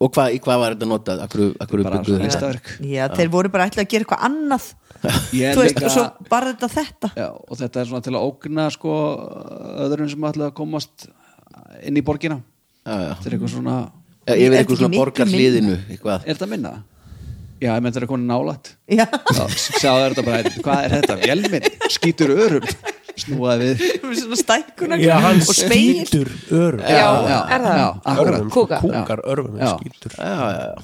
S1: og hvað, í hvað var þetta notað akkur, akkur
S4: Bara
S1: bygguðu
S4: svona
S1: þetta
S4: listaverk
S2: já, þeir voru bara ætla að gera eitthvað annað
S4: Ég er
S2: þú veist,
S4: líka-
S2: og svo bara þetta þetta
S4: Já, og þetta er svona til að ógna sko, öðrum sem ætla að komast inn í borgina
S1: Já, já.
S4: þetta er eitthvað svona
S1: Já, yfir
S2: Er
S1: eitthvað
S2: þetta
S1: svona
S2: miklu
S1: borgarliðinu eitthvað
S4: er þetta minna? Já, ég menn þetta er komin nálætt
S2: já,
S4: Já, sjáðu þetta bara, hvað er þetta? Vélminn, skýtur örum snúaði við
S2: svona stækkunar
S3: Já, hann
S2: og speil,
S3: skýtur örum
S5: Já, er það?
S4: já, akkurat.
S3: Örvum, sko,
S5: Kúka.
S3: Kúkar örfum,
S4: Já.
S3: skýtur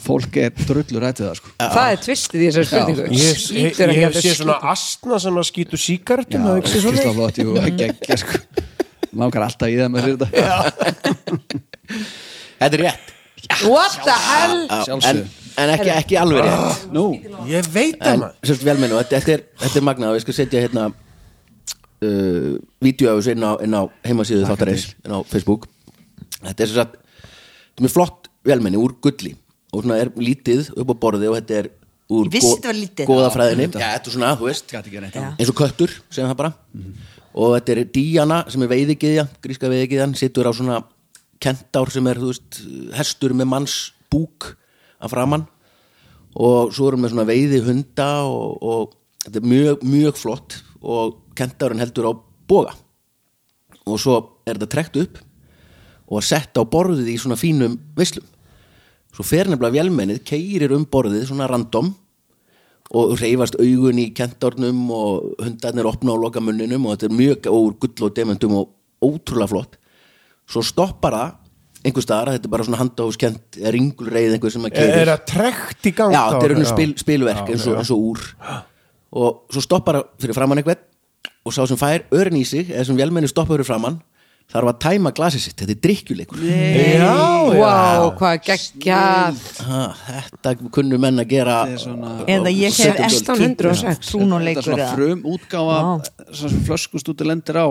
S4: fólk er drullur rættið það sko
S5: Það er tvistið í þessari spurningu
S3: Ég, ég,
S5: Skýtur
S3: ég
S5: ekki
S3: hef
S5: að
S3: séð
S5: þessu
S3: svona astna sem að skýtu síkartum
S4: Já,
S3: það er ekki svona
S4: Kristján Flótti og geggja sko langar alltaf í það með sér þetta
S1: þetta er rétt,
S5: What the hell?
S1: en,
S4: sjálfsög
S1: en ekki, ekki alveg rétt
S4: Nú,
S3: Ég veit það
S1: en
S3: maður
S1: sérst velmenni og þetta, þetta er, þetta er magnað og ég skal setja hérna uh, vídeo af þessu inn á, inn á heimasíðu þáttarins, inn á Facebook þetta er sérst þetta er mjög flott velmenni úr gulli og svona er lítið upp á borði og þetta er úr
S2: Ég vissi þetta var lítið.
S1: góðafræðinni, já, þetta er svona, þú veist
S4: gæti ekki neitt
S2: Já.
S4: annað.
S1: eins og köttur, segjum það bara og þetta er díjana sem er veiðigiðja gríska veiðigiðjan, situr á svona kentár sem er, þú veist, hestur með manns búk að framann og svo erum við svona veiði hunda og, og þetta er mjög, mjög flott og kentárinn heldur á boga og svo er þetta trekt upp og sett á borðið í svona fínum vislum svo fer nefnilega vélmennið, keirir um borðið svona random og reyfast augun í kentárnum og hundarnir opna og loka munninum og þetta er mjög óur gull og dementum og ótrúlega flott svo stoppar það einhver staðar, þetta er bara svona handahúskent ringulreið einhver sem að
S3: Er,
S1: keirir
S3: er það trekt í gang
S1: já,
S3: þá?
S1: þetta er unnum spil,
S3: Já.
S1: spilverk eins, og, eins og úr og svo stoppar það fyrir framann einhvern og sá sem fær örin í sig eða sem vélmenni stoppar fyrir framann þarf að tæma glasið sitt, þetta er drikkjuleikur
S3: Já, já
S5: Wow, hvað geggjað
S1: ha, þetta kunnu menn að gera
S4: Þetta er svona-
S2: eða ég hef
S1: 17. öld.
S5: ekki- 1606.
S4: Þetta er
S2: trúnuleikur
S4: svona frum útgáfa svona sem flöskustúti lendir á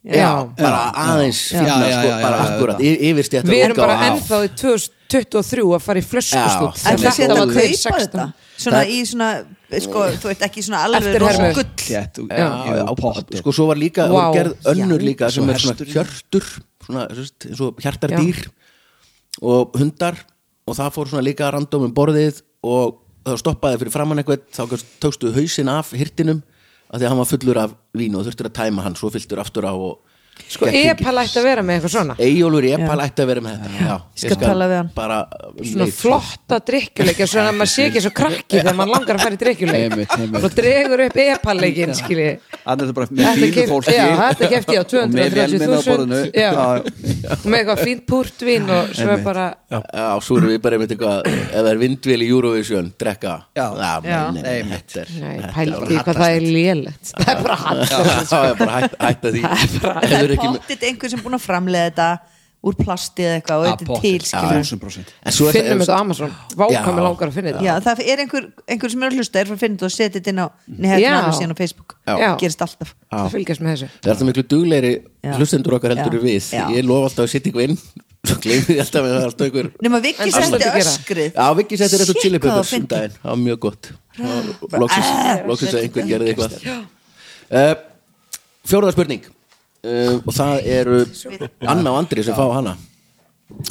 S5: Já,
S1: bara aðeins
S4: Já,
S1: fína,
S4: já,
S1: sko,
S4: já, já,
S1: bara
S4: já,
S1: akkurat,
S4: já.
S1: yfirstjætt
S5: við erum bara
S4: á.
S5: ennþá í 2023 að fara í
S1: Já,
S5: flöskustútt
S1: sem
S2: ætla
S1: er
S2: að setja að
S1: ótrúlegt.
S2: kaupa þetta svona
S1: Það-
S2: í svona sko, þú veit ekki svona alveg
S5: Eftirhermur.
S2: rosa gull
S4: Þétt og,
S1: Já,
S4: já,
S1: já,
S4: og pottur
S1: sko svo var líka
S5: Vá.
S1: wow. gerð önnur
S2: Já.
S1: líka sem
S4: Svo
S1: er svona
S4: hesturinn.
S1: hjörtur svona, þú veist, eins og hjartardýr og hundar og það fór svona líka random um borðið og það stoppaði fyrir framann eitthvað þá gast- tókstu hausinn af hirtinum af því að hann var fullur af vín og þurftur að tæma hann svo fylltur aftur á og
S5: Sko, epal ætti að vera með eitthvað svona
S1: Eyjólfur Epal ætti að vera með þetta já, ég
S2: Skal tala við hann.
S1: bara um
S5: svona
S1: leið.
S5: flotta drikkjuleikja svona að maður sé ekki svo krakki þegar maður langar að fara í
S4: Einmitt,
S5: drikkjuleik
S4: einmitt.
S5: og dregur upp epalleikin skilji
S4: Þannig er þetta bara
S5: Þetta
S4: með fínu
S5: keypt-
S4: fólki
S5: já, þetta kefti ég á
S4: og með vélmenni á borðinu
S5: 230.000 já.
S4: Já,
S5: og með eitthvað fínt púrtvin og svo er bara
S1: Já, svo erum við bara einmitt eitthvað ef það er vindvél í Eurovision, drekka
S4: Já.
S2: Já.
S1: nei, nei, nei, þetta er
S5: Nei,
S1: þetta er bara
S5: pældi hvað það er lélegt það er bara hatt
S1: það er bara hætt, hætta því
S2: það
S1: Hefur
S2: er
S1: ekki með-
S2: pottit einhver sem búin að framlega þetta úr plasti eða eitthvað
S4: Ah,
S2: og þetta er til skilur.
S4: 1000%
S1: en svo er
S5: finnum
S1: það
S5: þetta á Amazon, vákami
S1: Já.
S5: langar að finna þetta
S2: já, það er einhver, einhver sem er að hlusta er að finna þetta og setja þetta inn á
S5: Já.
S2: nehetna síðan á Facebook,
S5: Já.
S2: gerist alltaf
S5: að fylgjast með þessu
S1: það er alltaf miklu duglegri
S2: Já.
S1: hlustendur okkar heldur
S2: Já.
S1: við
S2: Já.
S1: ég lofa alltaf að setja ykkur inn svo gleymi því alltaf að það er alltaf ykkur
S2: nema Viki
S5: En það
S2: sendi
S5: er að gera.
S2: öskrið
S1: já, Viki settir þetta
S2: Shit,
S1: chili
S2: hvað það
S1: peppers
S2: var
S1: um
S2: fyndið.
S1: daginn, það var mjög gott Og loksins
S5: Ah,
S1: loksins að einhver gerði eitthvað uh, fjóraða spurning uh, og það eru Anna og Andri sem fá hana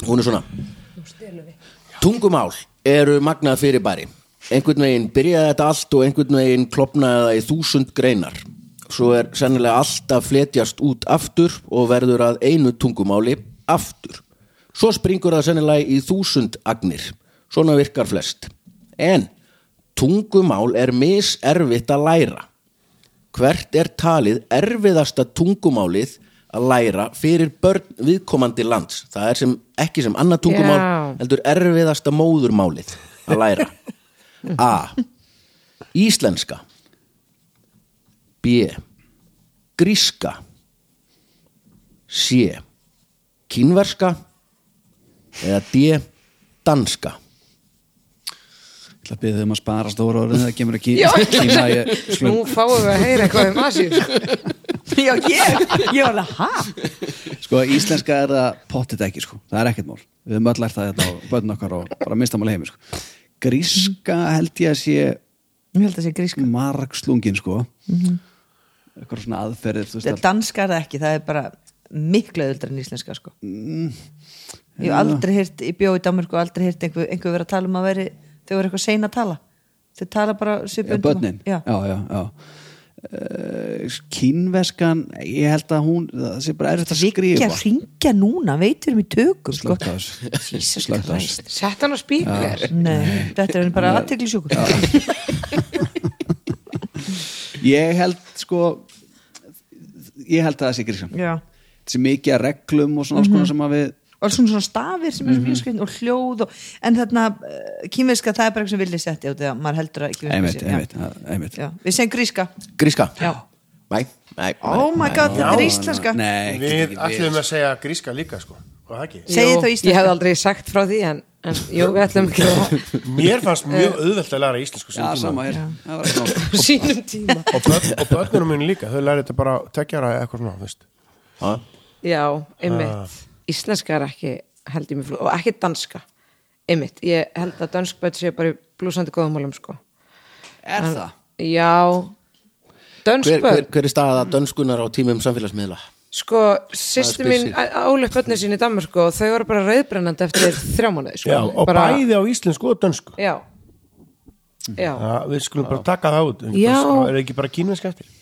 S1: hún er svona Tungumál eru magnað fyrirbæri einhvern veginn byrjaði þetta allt og einhvern veginn klopnaði það í þúsund greinar svo er sennilega allt að fletjast út aftur og verður að einu tungumáli aftur svo springur það sennilega í þúsund agnir svona virkar flest en tungumál er miserfitt að læra hvert er talið erfiðasta tungumálið að læra fyrir börn viðkomandi lands það er sem, ekki sem annað tungumál
S5: Já.
S1: heldur erfiðasta móðurmálið að læra A. Íslenska B. Gríska C. Kínverska eða D. Danska
S4: Ég ætla að byrja þeim að spara stóra orðin það kemur að
S5: Já.
S4: kýma kýma ég
S5: nú
S4: slum
S5: fáum við að heyra eitthvað um Asíu sko.
S2: já, ég, ég var alveg, hæ?
S4: sko íslenska er það pottit ekki sko það er ekkert mál við höfum öll lært það þetta á börn okkar og bara minnstamáli heimi sko gríska held ég að sé
S2: ég held að sé gríska
S4: margslungin sko eitthvað svona aðferðir þú veist að
S2: danska Mhm. er það ekki, það er bara miklu auðvitað en íslenska sko ég hef aldrei hýrt, ég bjóð í Danmörku og aldrei hýrt einhver, einhver verið að tala um að veri þau voru eitthvað sein að tala þau tala bara
S4: Já,
S2: svipundum
S4: börnin
S2: já.
S4: já, já, já. Uh, kínveskan ég held að hún, það sé bara erfitt að
S2: ekki
S4: skrifa
S2: að ringja núna, veitur um í tökum sko.
S4: Slökkt á þessu.
S2: Jesus
S4: Slökkt á þessu.
S2: Christ
S5: sett hann á spíkler
S2: Nei, þetta er bara aðteglisjúkur já.
S4: ég held sko ég held að það sé grískan
S2: já Mhm.
S4: þessi mikið að reglum og svona mm -hmm. sem að við
S2: og svona, svona stafir sem er mm -hmm. og hljóð og, en þarna uh, kýmiska það er bara eitthvað sem vilja setja út eða maður heldur að kýmiska
S4: einmitt,
S2: sé-
S4: einmitt,
S2: já.
S4: einmitt.
S2: Já. við segjum gríska
S1: Gríska
S2: Já.
S1: Nei, nei,
S2: oh my god, þetta er íslenska
S4: nei, ekki,
S3: Við
S4: ekki,
S3: ætlum að segja gríska líka sko og það ekki
S2: Segið
S5: Jú,
S2: þá íslenska.
S5: Ég hef aldrei sagt frá því en, en jú, við ætlum ekki að
S3: Mér fannst mjög auðvelt að læra íslensku
S4: já, sama hér það var ekki nóg.
S5: sínum tíma
S3: og, börn, og börnunum mínu líka, þau læri þetta bara tekjara eða eitthvað svona, þú veist
S1: Ha?
S5: Já, einmitt Íslenska er ekki, held ég mér flú og ekki danska, einmitt Ég held að dansk bætt sé bara í blúsandi góðumálum sko
S4: er það?
S5: Já Dönsk
S1: hver, hver,
S5: börn,
S1: hver er staða dönskunar á tímum samfélagsmiðla?
S5: sko, sýstu
S1: Það er
S5: mín
S1: spesir.
S5: álöf börnin sín í Danmarku og þau voru bara rauðbrennandi eftir þrjá mánuði sko.
S3: Já, og
S5: bara,
S3: bæði Mm. Ah. á íslensku og dönsku
S5: Já, já.
S3: ja, Við skulum bara taka það út
S5: Já.
S3: Það er ekki bara kínverska eftir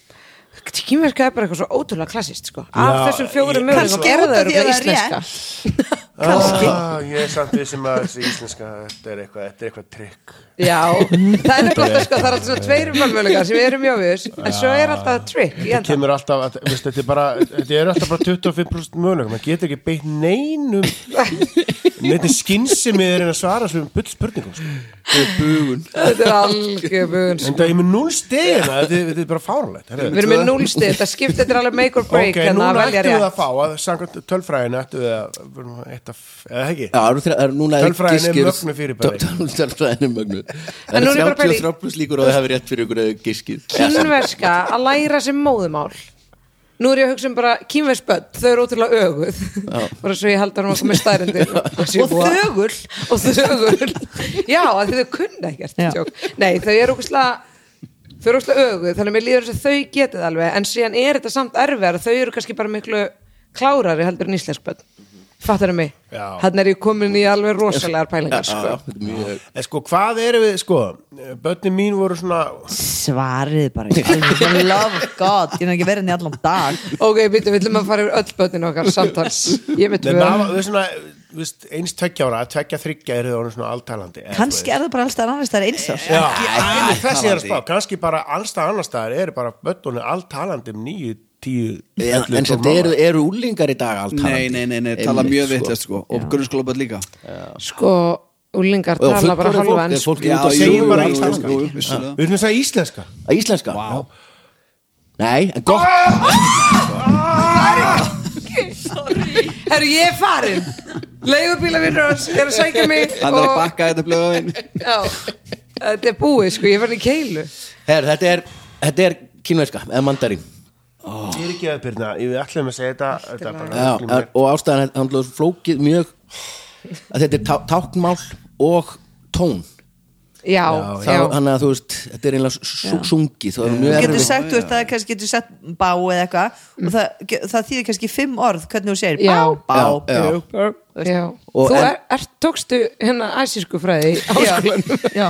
S5: Kínverska er bara eitthvað svo ótrúlega klassist sko.
S3: Já,
S5: af þessum
S3: ég-
S5: fjórum mögulegum
S2: Kannski
S5: er
S2: út
S5: það
S2: af því að það
S5: örugglega
S2: er
S5: íslenska
S3: ah, Ég er samt við sem að þessi íslenska þetta er eitthvað, þetta er eitthvað trikk
S5: Já, það er nefnilega sko, það er alltaf svona tveir valmöðlega sem eru mjög viðus en svo er alltaf trick í
S3: Þetta
S5: enda
S3: kemur alltaf, að- veist, þetta er bara þetta er alltaf bara 25% mögulegum maður getur ekki beitt neinum neitt skynsemi er en að svara svona bull spurningum sko.
S5: Þetta er algjöfun
S3: en það er með núl stegina þetta, er- þetta er bara fárlegt
S5: Við erum með núlstið, þetta skipt, þetta er alveg make or break hérna,
S3: ok,
S5: en
S3: núna
S5: það velja
S3: ættum við
S5: rétt
S3: að fá að samkvæmt tölfræðinu ættum við að, við erum að eitt af, eða ekki
S1: Já, það eru þrjá- það eru núna
S3: Tölfræðin er mögnuð fyrirbæri.
S1: Tölfræðin er mögnu
S5: En
S1: En það
S5: nú er ég
S1: er
S5: bara að pæla í-
S1: 33 pluss líkur og það hefur rétt fyrir ykkur eða giskið
S5: Kínverska að læra sem móðumál Nú er ég að hugsa um bara kínversk börn, þau eru ótrúlega öguð bara svo ég held að hún var komið stærindir
S2: og þögul
S5: og þögul Já, af því þau kunna ekkert
S2: Já.
S5: djók. Nei, þau eru ókvæslega þau eru óslega öguð, þannig að mér líður þess að þau getið alveg, en síðan er þetta samt erfiðar þau eru kannski bara miklu klárari heldur en íslensk bönn, fattar mig
S3: Já.
S5: hann er ég komin í alveg rosalegar pælingar sko.
S3: En sko, hvað erum við, sko, börnin mín voru svona,
S2: svarið bara í alveg, love of god, ég er ekki verið henni allan dag
S5: ok, býttu, við ætlum að fara yfir öll bönnin okkar samtals, ég
S3: Nei,
S5: með tvö
S3: maður, við svona, viðst, eins tveggja ára, tveggja þryggja eru það orðin svona alltalandi. eða,
S2: kannski er það bara allstæðar annars það er eins og
S3: þú veist. Já, ekki
S4: ekki
S3: þessi er að spá,
S4: talandi.
S3: kannski bara allstað annar staðar eru bara börnunni alltalandi um nýju, tíu,
S1: En, en sem þetta eru, eru úlingar í dag
S5: um
S1: allt
S4: Nei,
S1: talandi.
S4: nei, nei, nei, tala
S1: Einmitt,
S4: mjög
S1: sko.
S4: vitlust sko og grunnskólaböld líka
S5: sko, úlingar
S1: Og
S5: tala bara
S1: fullorðið
S5: halva
S1: fólk, er fólk út
S5: ensk
S4: jú,
S1: að segja
S4: jú,
S1: bara
S4: jú,
S1: íslenska?
S4: jú, jú, vissulega.
S3: Við erum þess að íslenska.
S1: Íslenska? Nei, en gott
S5: herru, ég er farin leigubílavinnur hans er að sækja mig
S4: Hann er að bakka þetta blöðin
S5: já, þetta er búið, sko, ég er farin í keilu
S1: Her, þetta, er, þetta er kínverska, eða mandarín
S3: Ég er ekki að byrna, ég við ætlum að segja þetta, þetta er bara
S1: Já, er- og ástæðan hann hljóð flókið mjög að þetta er tá, táknmál og tón
S5: já,
S1: Þá,
S5: já,
S1: hann að þú veist, þetta er einlega su- sungið þú er
S2: þú
S1: mjög
S2: getur
S1: erfið
S2: sagt, þú veist, það er kannski getur sett bá eða eitthvað og það, það þýðir kannski fimm orð hvernig þú segir
S5: Já.
S2: bá, bá,
S1: Já, já.
S2: bá, bá
S5: já.
S1: Og
S5: þú
S1: en-
S5: er, er, tókstu hérna æsísku fræði í háskólanum
S2: já,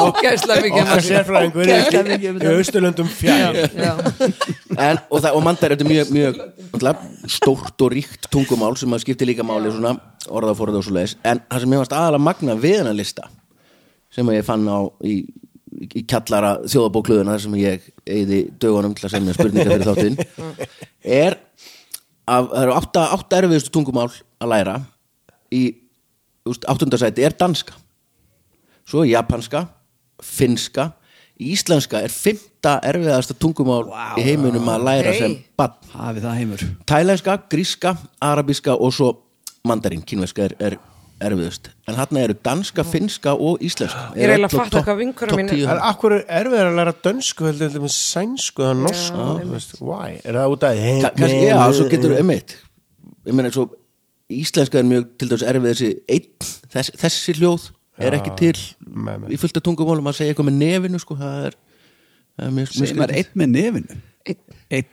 S5: ógæðslega mikið
S3: Okkar sérfræðingur í-
S2: Ógeðslega mikið um
S3: í austurlöndum fjær.
S2: já.
S1: en, og, það, og mandar þetta er mjög, mjög náttúrulega stórt og ríkt tungumál sem að skipti líka máli svona orðaforða og svo leiðis en það sem ég varst aðalega magna við hennar lista sem að ég fann á í, í kjallara þjóðabókluðuna þar sem ég eigði dögunum til að semja spurningar fyrir þáttinn er að það eru átta, átta erfiðustu tungumál að læra í úst, áttundasæti er danska svo er japanska, finska íslenska er fymta erfiðasta tungumál í heiminum að læra
S5: Hey.
S1: sem bann
S4: Hafi það heimur
S1: tælenska, gríska, arabíska og svo mandarin, kínverska er, er erfiðust, en hann eru danska, finska og íslenska
S5: Ég
S1: Eru
S5: er eiginlega
S1: öll á
S5: að fatta
S1: topp-
S5: hvað vinkonur
S1: topp
S5: mínar-
S1: 10.
S3: Það er akkur erfiðar að læra dönsku heldur heldur með sænsku eða norsku þú veist, why? Er það út að
S1: Ka- kannski, já, svo getur einmitt ég meina svo íslenska er mjög til dæmis erfið þessi einn, þess, þessi hljóð er ekki til
S3: Nei, nei.
S1: í fullt af tungumálum að segja eitthvað með nefinu sko, það er, það er mjög, mjög
S4: Sem er
S1: skrítið.
S4: einn með nefinu
S5: Einn.
S4: Einn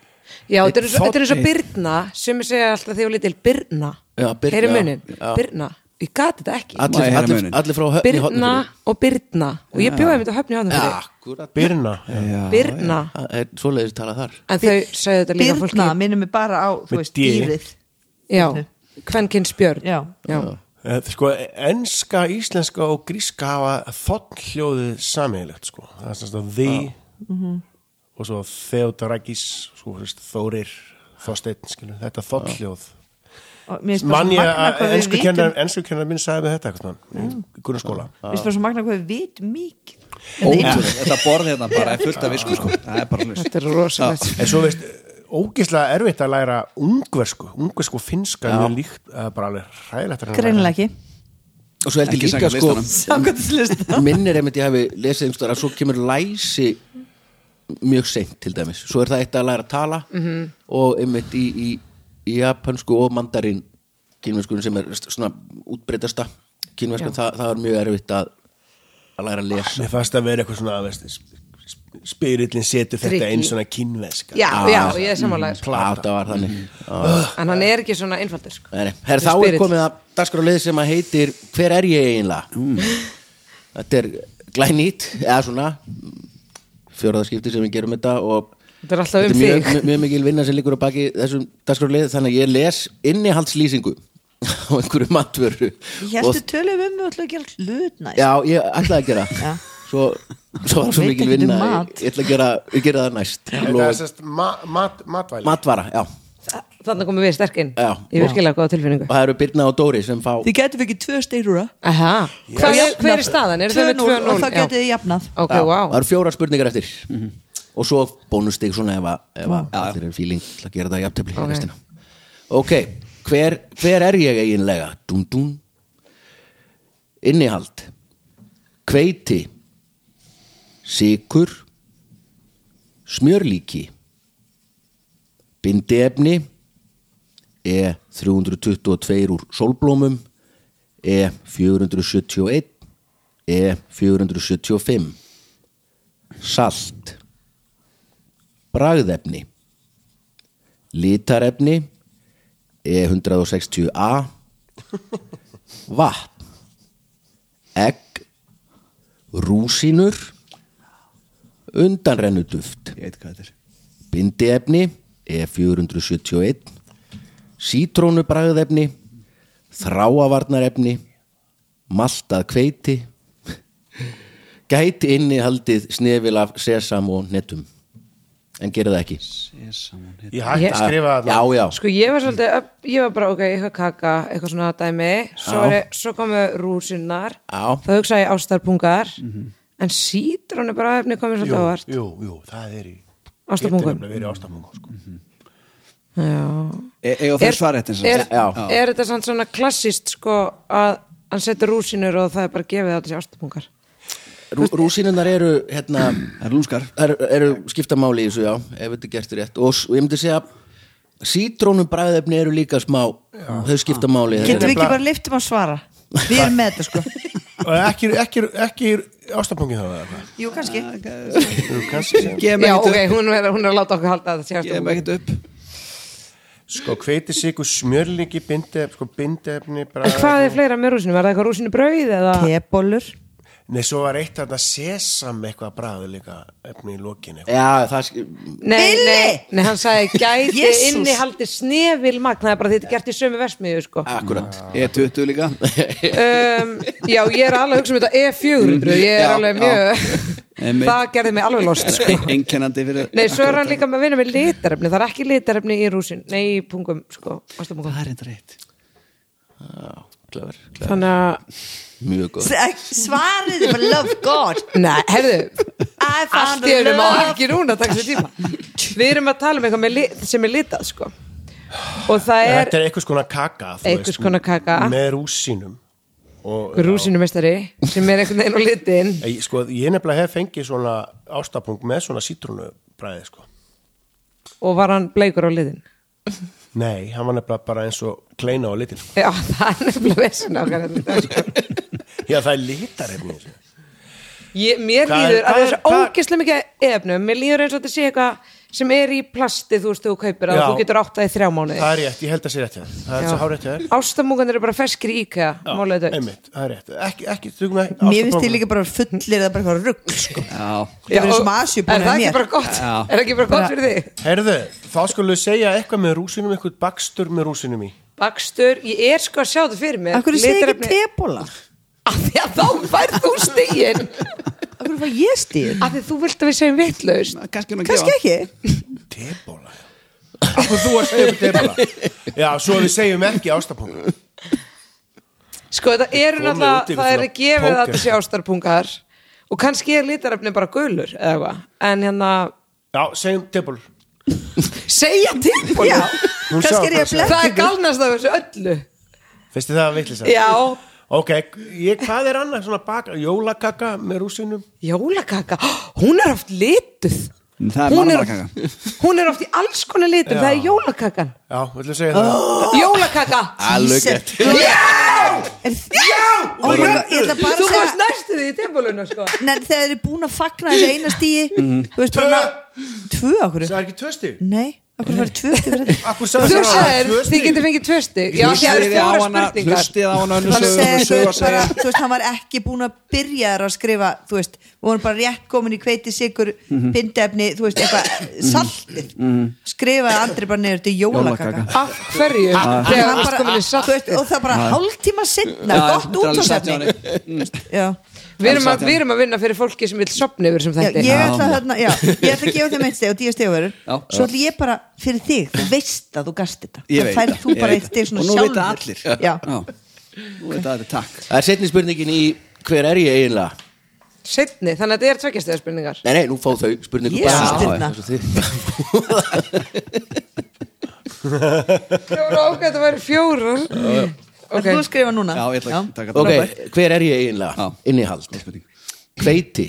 S5: Já, þetta er eins og-
S4: Einn
S5: þetta er eins og
S4: þ-
S5: Birna sem ég segja alltaf þegar ég var lítil, Birna
S1: Já, Birna,
S5: Heyri
S1: já,
S5: munin,
S1: já.
S5: Birna Ég gati þetta ekki
S4: Má ég
S1: allir,
S4: heyra
S1: allir,
S4: muninn?
S1: allir frá höfn í
S5: Birna
S1: hornum
S5: og Birna og ég bjóði þetta höfni á höfnum fyrir
S1: akkurat
S3: Birna
S4: Já,
S5: Birna,
S1: svoleiðis talað þar
S5: en þau sagði þetta líka fólki
S2: Birna minnum við bara á, þú
S3: Með
S2: veist,
S3: D.
S2: dýrið
S5: Já, kvenkins björn
S2: já,
S5: Já.
S3: Eh, Sko, enska, íslenska og gríska hafa þottljóðið sammeilegt sko. það er semst að því
S2: Mhm.
S3: og svo Theodorakis sko, þú veist, Þórir, Þorsteinn skilu, þetta þottljóð
S2: og mér finnst bara
S3: mann
S2: svo
S3: ég
S2: magnað
S3: að
S2: hvað við
S3: ensku
S2: vitum- Mm.
S3: kennar ensku kennar minn sagði með þetta eitthvað, í grunnskóla
S2: mér finnst bara svo magna hvað við vitum mikið
S4: Ótrúlega, þetta borð hérna bara er fullt af visku sko Það er bara hlust
S5: Þetta er rosalegt
S3: en svo veist, ógislega erfitt að læra ungversku, ungversku og finska er mjög líkt, það er bara alveg hræðilegt að reyna að læra.
S2: greinilega ekki
S1: og svo held ég
S4: Ekki
S1: líka
S4: samkvæmt
S1: sko
S4: listanum.
S2: samkvæmstlista
S1: minnir einmitt ég hafi lesið einhverstaðar að svo kemur læsi mjög seint til dæmis svo er það eitt að læra að tala
S5: Mhm.
S1: og einmitt í, í, í japansku og mandarin kínverskunum sem er st- svona útbreytasta kínverskan það, það er mjög erfitt að, að læra að lesa
S3: Mér fannst að vera eitthvað svona veist, sp- spirillin setur þetta
S5: Tricky.
S3: einn svona kínveska
S5: Já, já, ég er samanlega sko.
S1: Plata. það var þannig mm.
S5: En hann er ekki svona einfaldur sko.
S1: Her, þá er
S5: Spirit.
S1: komið að dagskráliði sem að heitir hver er ég eiginlega
S5: Mm.
S1: þetta er glænýtt eða svona fjóraðaskipti sem við gerum þetta og
S5: Þetta er alltaf um
S1: þetta er mjög,
S5: þig.
S1: mjög, mjög mikil vinna sem liggur á baki þessum dagskráliði þannig að ég les innihaldslýsingu á einhverju matvöru
S2: ég hérstu tölum um við ætlum að gera hlutna
S1: já, ég ætlaði að gera
S2: Já.
S1: svo, svo var svo
S2: Veit
S1: mikil
S2: ekkert um
S1: vinna ég,
S2: mat.
S1: ég ætla að gera, ég gera það næst
S3: Þetta er
S1: Lofa-
S3: sérst ma mat matvælin
S1: matvara, já og
S5: Þannig komum við sterk inn
S1: Já.
S5: Ég er virkilega góða tilfinningu
S1: það eru Birna og Dóri sem fá
S2: þið getum ekki tvö steyrúra
S5: Aha, Hvað er, hver er staðan? Er það með
S2: 2-0 og
S5: 2-0?
S2: þá getum
S5: Já.
S2: við jafnað
S5: Ok, Mhm.
S1: Já,
S5: wow
S1: það eru fjóra spurningar eftir og svo bónustig svona ef, að- ef að
S4: Já.
S1: allir eru fíling til að gera það jafntefli
S5: Mm. Ok.
S1: okay. ok, hver, hver er ég eiginlega? Dún, dún innihald hveiti sikur smjörlíki bindiefni E E322 úr sólblómum E E471 E475 salt bragðefni litarefni E E160A vatn egg rúsínur undanrennuduft
S4: Ég veit hvað þetta er
S1: bindiefni E E471 sítrónubragðefni þráavarnarefni maltað kveiti gæti innihaldið snefil af sesam og netum en gerir það ekki
S4: Sesamon hit.
S3: Ég hætti að skrifa
S1: já,
S3: þetta
S1: já,
S5: Sko ég var svolítið, upp, ég var bara ok, eitthvað kaka, eitthvað svona dæmi Svo,
S1: Já.
S5: er, svo komu rúsinnar
S1: Já. Mhm.
S5: Þá hugsaði ég ástarpungar En sítrón er bara efni komið
S3: jú,
S5: svolítið ávart
S3: jú, jú, það er í
S5: Ástarbungum.
S3: Það er í ástarbungum sko.
S4: E- Eiga
S5: Er,
S4: fyrir svarréttin sem
S5: er,
S4: sagt.
S1: Já.
S5: er þetta samt svona klassist sko að hann setur rúsinur og það er bara gefið á þessi ástarpungar
S1: Rú, rúsinunar eru hérna,
S4: Það er lúmskar
S1: er, eru skiptamáli í þessu já, ef þetta er gert rétt og s- og ég myndi segja sítrónum bræðefni eru líka smá þau skiptamáli
S2: Getum við ekki bara liftum að svara Við erum með þetta sko
S3: Og ekki, ekki, ekki ástarbungin þá eða hvað?
S2: Jú, kannski
S3: Jú, kannski sem-
S4: Gefum
S5: Já ok,
S4: ekkert upp
S5: hún er, hún er að láta okkur halda að þetta sé
S4: Gefum
S5: ástarpungar
S4: ekkert upp
S3: Sko, hveiti sigur smjörlíki bindefni, sko, bindefni
S5: En hvað er fleira með rúsinum? Er það eitthvað rúsinu brauð eða?
S2: Tebólur
S3: Nei, svo var eitt þarna sesam eitthvað bræðu líka efni í lokin eitthvað.
S1: já, það sk-
S5: Nei,
S2: Billy!
S5: nei, nei, hann sagði gæti
S2: Jesús!
S5: inni haldi snefil magn það er bara þetta er gert í sömu versmiðu sko
S1: akkurat
S4: E20 E líka
S5: um, Já, ég er alveg að hugsa um þetta E400 ég er
S4: Já,
S5: alveg
S4: já.
S5: mjög
S4: Einmitt.
S5: það gerði mig alveg lost sko.
S4: Einkennandi fyrir
S5: Nei, svo er hann líka með að vinna með litarefni það er ekki litarefni í rúsin, nei, í pungum sko, ástarbungum.
S4: Það er enda reitt
S1: Klefur, klefur.
S5: Þannig að,
S1: mjög góð
S2: Svarið er bara love God
S5: nei, herðu
S2: I found
S5: allt í
S2: a
S5: erum á
S2: love
S5: ekki núna taka sér tíma Við erum að tala um eitthvað með lit, sem er litað sko og það er
S3: Þetta er einhvers konar kaka, þú
S5: Einhvers konar kaka.
S3: Með rúsínum. Og,
S5: rúsinumestari sem er einhvern veginn á litin
S3: Já, Ég, sko, ég nefnilega hef fengið svona ástarbung með svona sítrúnubræði, sko.
S5: og var hann bleikur á liðin
S3: Nei, hann var nefnilega bara eins og kleina og litil, sko.
S5: já, það er nefnilega vessin okkar þetta, sko.
S3: Já, það er litar efni. í þessu.
S5: ég, mér
S3: Hvað er-
S5: líður að
S3: hvað er-
S5: þessu
S3: hvað-
S5: ógeðslega mikið efnum mér líður eins og þetta sé eitthvað sem er í plasti þú veist þú kaupir að
S3: Já.
S5: þú getur átt það í þrjá mánuði
S3: Það er rétt, ég held að sé rétt hjá þér. Það er svo hárrétt hjá þér.
S5: ástamúkanir eru bara ferskir í IKEA
S3: Já,
S5: málega dögt
S3: Einmitt, það er rétt. Ekki, ekki, þugum ekki.
S2: Mér finnst þið líka bara fullir Það bara eitthvað rugg sko
S4: Já
S2: Þetta er
S5: og-
S2: sem Asíu búin
S5: er
S2: að
S5: það ekki
S2: mér
S5: bara gott
S4: Já.
S5: er það ekki bara gott fyrir þig
S3: Herðu, þá skulum við segja eitthvað með rúsinum, eitthvað bakstur með rúsinum í.
S5: bakstur, ég er sko að sjá það fyrir mér
S2: Akkur segir ekki
S5: Litarefni-
S2: tebóla
S5: Af því að þá færð þú stigin
S2: Akkur fæ ég stíð
S5: af því þú vilt að við segjum vitlaust
S4: Kannski hún að gefa
S2: Kannski ekki
S3: Tebóla, já. Akkur þú að segja upp tebóla? Já, svo við segjum ekki ástarbung.
S5: Sko þetta eru
S3: Komið út
S5: náttúrulega,
S3: yfir
S5: það er
S3: svona
S5: gefið að
S3: póker.
S5: þetta sé ástarpungar og kannski er litarefni bara gulur eða eitthvað, en hérna
S3: Já, segjum tebóla.
S5: segja tilbúin,
S2: Já,
S3: Hún
S2: kannski
S3: sá
S2: er ég að
S3: hvað
S5: það
S2: blekja
S5: er galnast af þessu öllu
S3: Finnst þið það að vitlis
S5: Já,
S3: Ok, ég, hvað er annað svona bak, jólakaka með rúsinum?
S5: jólakaka hún er oft lituð
S4: Það er
S5: hún er,
S4: mannamannakaka.
S5: hún er oft í alls konar
S3: Já.
S5: litum,
S3: Oh.
S5: það er jólakakan
S3: Já, villu segja það?
S5: Jólakaka
S1: alveg gett
S2: Já Og ég ég ætla bara að
S5: Þú
S2: segja
S5: varst næstu því í timbulunum sko
S2: Nei, þegar þið er búin að fagna þessu eina stíi Þú veist bara Tvö okkur
S3: Það er ekki tvö stig?
S2: Nei, okkur var tvö stíð fyrir þetta
S3: Akkur
S5: Þú
S3: sagði það
S5: sagðir,
S3: tvö
S5: þið
S3: stig?
S5: getur fengið tvö stig Já, því að það
S4: Hlustið
S5: eru
S4: á hana Hlustið á
S5: fjóra spurningar
S4: hana önnur
S2: Hann
S4: sögur,
S2: segir,
S4: önnur sögur að
S2: þú veist bara
S4: segja
S2: Þú veist, hann var ekki búin að byrja þar að skrifa Þú veist, við vorum bara rétt komin í kveiti sigur Bindefni, þú veist, eitthvað Saltið, skrifaði andri bara neður Þetta er jólakaka
S4: Jólakaka.
S5: Af hverju, þegar
S2: Hann
S5: allt
S2: bara-
S5: komin
S2: þú
S5: í
S2: veist,
S5: saltið
S2: Og það bara hálftíma sinna
S4: Já,
S2: Gott
S4: þetta er alveg satt hjá
S2: útláðsefni
S4: Mm.
S2: Já
S5: Við erum, að,
S4: Alls
S5: við erum að vinna fyrir fólki sem vil sopna yfir sem
S2: Já,
S5: þetta
S2: ég, ætla að, hérna, já, ég ætla að gefa þeim eitt steg og dýja steg verður
S4: Já.
S2: svo ætla ég bara fyrir þig þú veist að þú gast þetta
S4: Ég
S2: það
S4: veit
S2: færð
S4: það,
S2: þú
S4: ég
S2: bara
S4: veit
S2: eitt steg
S4: það.
S2: svona
S4: Og nú
S2: sjálfur
S4: vita allir.
S2: já.
S4: Já Nú er þetta takk
S1: það er setni spurningin í hver er ég eiginlega
S5: Setni, þannig að þetta er tveggjastega spurningar
S1: nei, nei, nú fá þau spurningu
S2: Jesus, Birna.
S5: Fjóra ákveð, þetta væri fjórar
S2: okay. þú að skrifa núna
S4: Já, ég ætla að taka
S1: ok,
S4: þetta
S1: hver er ég eiginlega
S4: Já.
S1: innihald, hveiti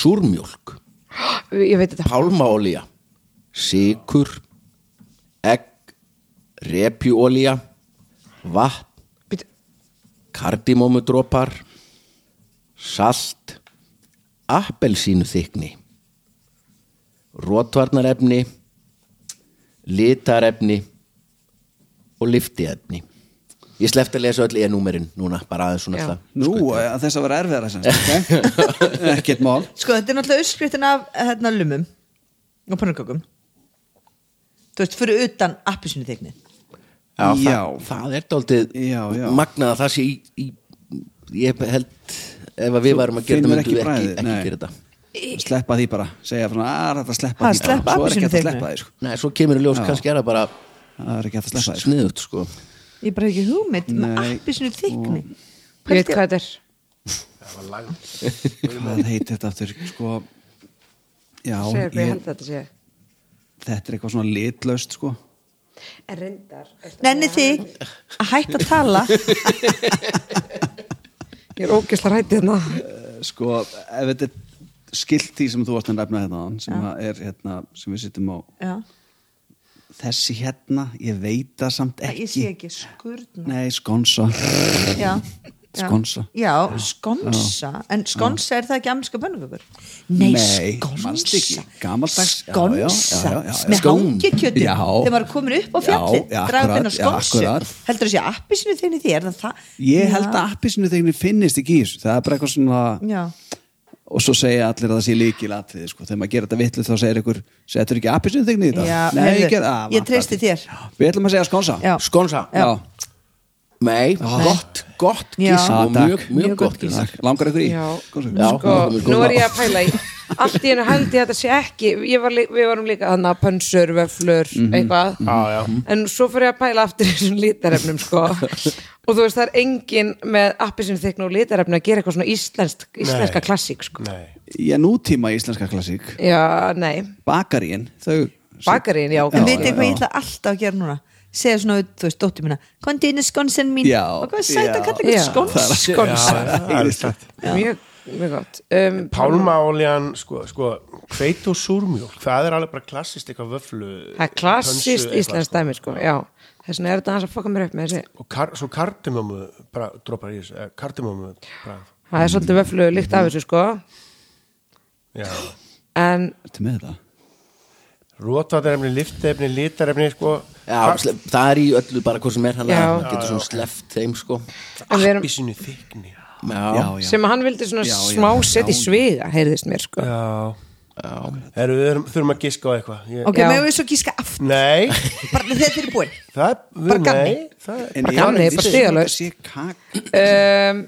S1: súrmjólk,
S5: Ég veit þetta
S1: pálmaolía sikur egg repjúolía vatn
S5: Bíddu,
S1: kardimómudropar salt appelsínu þykni rótvarnarefni litarefni og liftiefni ég sleppti að lesa öll e-númerin núna bara aðeins svona
S5: Já.
S1: alltaf
S4: Nú, eh, þess að vera erfiðar þess að Ekkert mál
S2: Sko, þetta er náttúrulega uppskriftin af hérna lumum og pannukökum Þú veist, fyrir utan appisinu þegni
S1: Já,
S4: Já.
S1: Það, það er dálítið
S4: Já, já.
S1: magnað að það sé í, í, ég held ef að við varum að gera
S4: finnur
S1: þetta myndum
S4: ekki
S1: við ekki,
S4: bragðið,
S1: ekki,
S4: nei.
S1: gera þetta
S4: Sleppa því bara, segja frá "Ah, að þetta sleppa
S2: Ha,
S4: því bara.
S2: sleppa
S4: Svo er ekki hægt að
S2: appelsínuþyknu.
S4: sleppa því sko.
S1: Nei, svo kemur í ljós, kannski er það bara
S4: Það er ekki hægt að sleppa því sko.
S1: sniðut sko.
S2: Ég bara hef ekki hugmynd um með
S4: Nei.
S2: appisinu þegni
S5: ég veit hvað þetta er
S4: Hvað heitir þetta aftur sko Já,
S5: segir hvað ég held
S4: ég,
S5: að þetta sé
S4: þetta er eitthvað svona litlaust sko
S5: en reyndar veistu,
S2: Nenni þig að hætta að tala
S5: ég er ógislega rættið hérna
S4: Eh, Sko, ef þetta er skilt því sem þú varst að nefna hérna áðan, sem að er hérna, sem við sittum á
S2: Já,
S4: þessi hérna, ég veit það samt
S2: Nei,
S4: ekki
S2: ég sé ekki skurna
S4: Nei, skonsa
S2: Já Já.
S4: Skonsa.
S2: Já, skonsa En skonsa er það ekki amniska pönnukökur? Nei,
S4: Nei, manstu
S2: skonsa
S4: ekki, gamaldags, já, já, já, já,
S2: Skonsa
S4: já, já.
S2: Með
S1: Skón.
S2: hangikjötu
S4: Já.
S2: Þegar maður komur upp á
S4: Já,
S2: fjallið
S4: já,
S2: Draga upp
S4: akkurat,
S2: hennar
S4: já,
S2: skonsu
S4: akkurat.
S2: Heldur þessi appisinu þegni því? Er það það?
S4: Ég held að appisinu þegar finnist ekki í þessu Það er bara eitthvað svona
S2: Já,
S4: og svo segja allir að það sé líkil atriði sko. þegar maður gerir þetta vitlu þá segir ykkur setur ekki appisinn þegni í þetta
S2: Já,
S4: Nei,
S2: heyrðu,
S4: ég, ger- ah,
S2: ég
S4: vantar
S2: treysti
S4: því.
S2: þér.
S4: við ætlum að segja skonsa
S2: já.
S1: Skonsa
S4: Já.
S1: Nei, gott, gott
S2: Já.
S1: gísk og
S4: Ah, takk.
S1: mjög, mjög gott gísk
S4: Takk. langar ykkur í
S5: já,
S4: Skonsa.
S1: Já.
S5: sko,
S1: nú-
S5: nú er ég að pæla í allt í hennu held ég að þetta sé ekki ég var, lí- við varum líka þannig að pönsur, vöflur eitthvað,
S3: Já, já.
S5: en svo fyrir ég að pæla aftur í þessum lítarefnum sko. og þú veist það er engin með appisinn þykna og lítarefni að gera eitthvað svona íslensk, íslenska
S3: Nei.
S5: klassík sko.
S3: Nei.
S4: ég nútíma íslenska klassík
S5: já, nei,
S4: bakaríin, þau
S5: bakarín, já, ok.
S2: En
S4: Já,
S2: veitir hvað
S4: já.
S2: ég ætla alltaf að gera núna segja svona, við, þú veist, dóttir mína komdu inn í skonsen mín
S4: Já,
S2: og hvað er sætt að
S4: já.
S2: kalla eitthvað
S5: Já.
S2: skons
S5: skonsa
S3: Það er slett
S5: mjög, mjög gott um,
S3: Pálmaoljan, sko, sko hveit og súrmjólk, það er alveg bara klassist eitthvað vöflu
S5: það er klassist
S3: pönsu eitthvað,
S5: íslenskt dæmi sko. já, þess vegna er þetta hans að fokka mér upp með þessi
S3: og kar, svo kardimömmu bara droppar í þessu, eh, kardimömmu bara,
S5: það er svolítið vöflu líkt af þessu sko.
S3: já,
S5: en
S4: Ertu með það?
S3: rótvatarefni, lifteefni, litarefni sko,
S1: Já, sle- það er í öllu bara hvað sem er hann
S5: Já.
S1: hann getur svona sleppt þeim sko
S5: En við erum-
S3: appi sínu þykni
S1: Já,
S4: já.
S5: sem að hann vildi svona
S4: Já, já,
S5: smá
S4: já.
S5: setja í sviga heyrðist mér sko
S3: já,
S1: já.
S3: Heru, við erum, þurfum að giska á eitthvað ég,
S2: ok,
S5: Já.
S2: meðum við svo gíska aftur
S3: nei,
S2: bara þegar þeir eru búin
S3: það
S2: Bara
S3: við,
S2: gamni.
S3: nei það er
S4: En
S5: Bara
S4: ég var
S5: gamni,
S4: ekki viss um
S5: bara
S4: að
S5: stigalaust.
S4: þetta sé kak-
S5: um,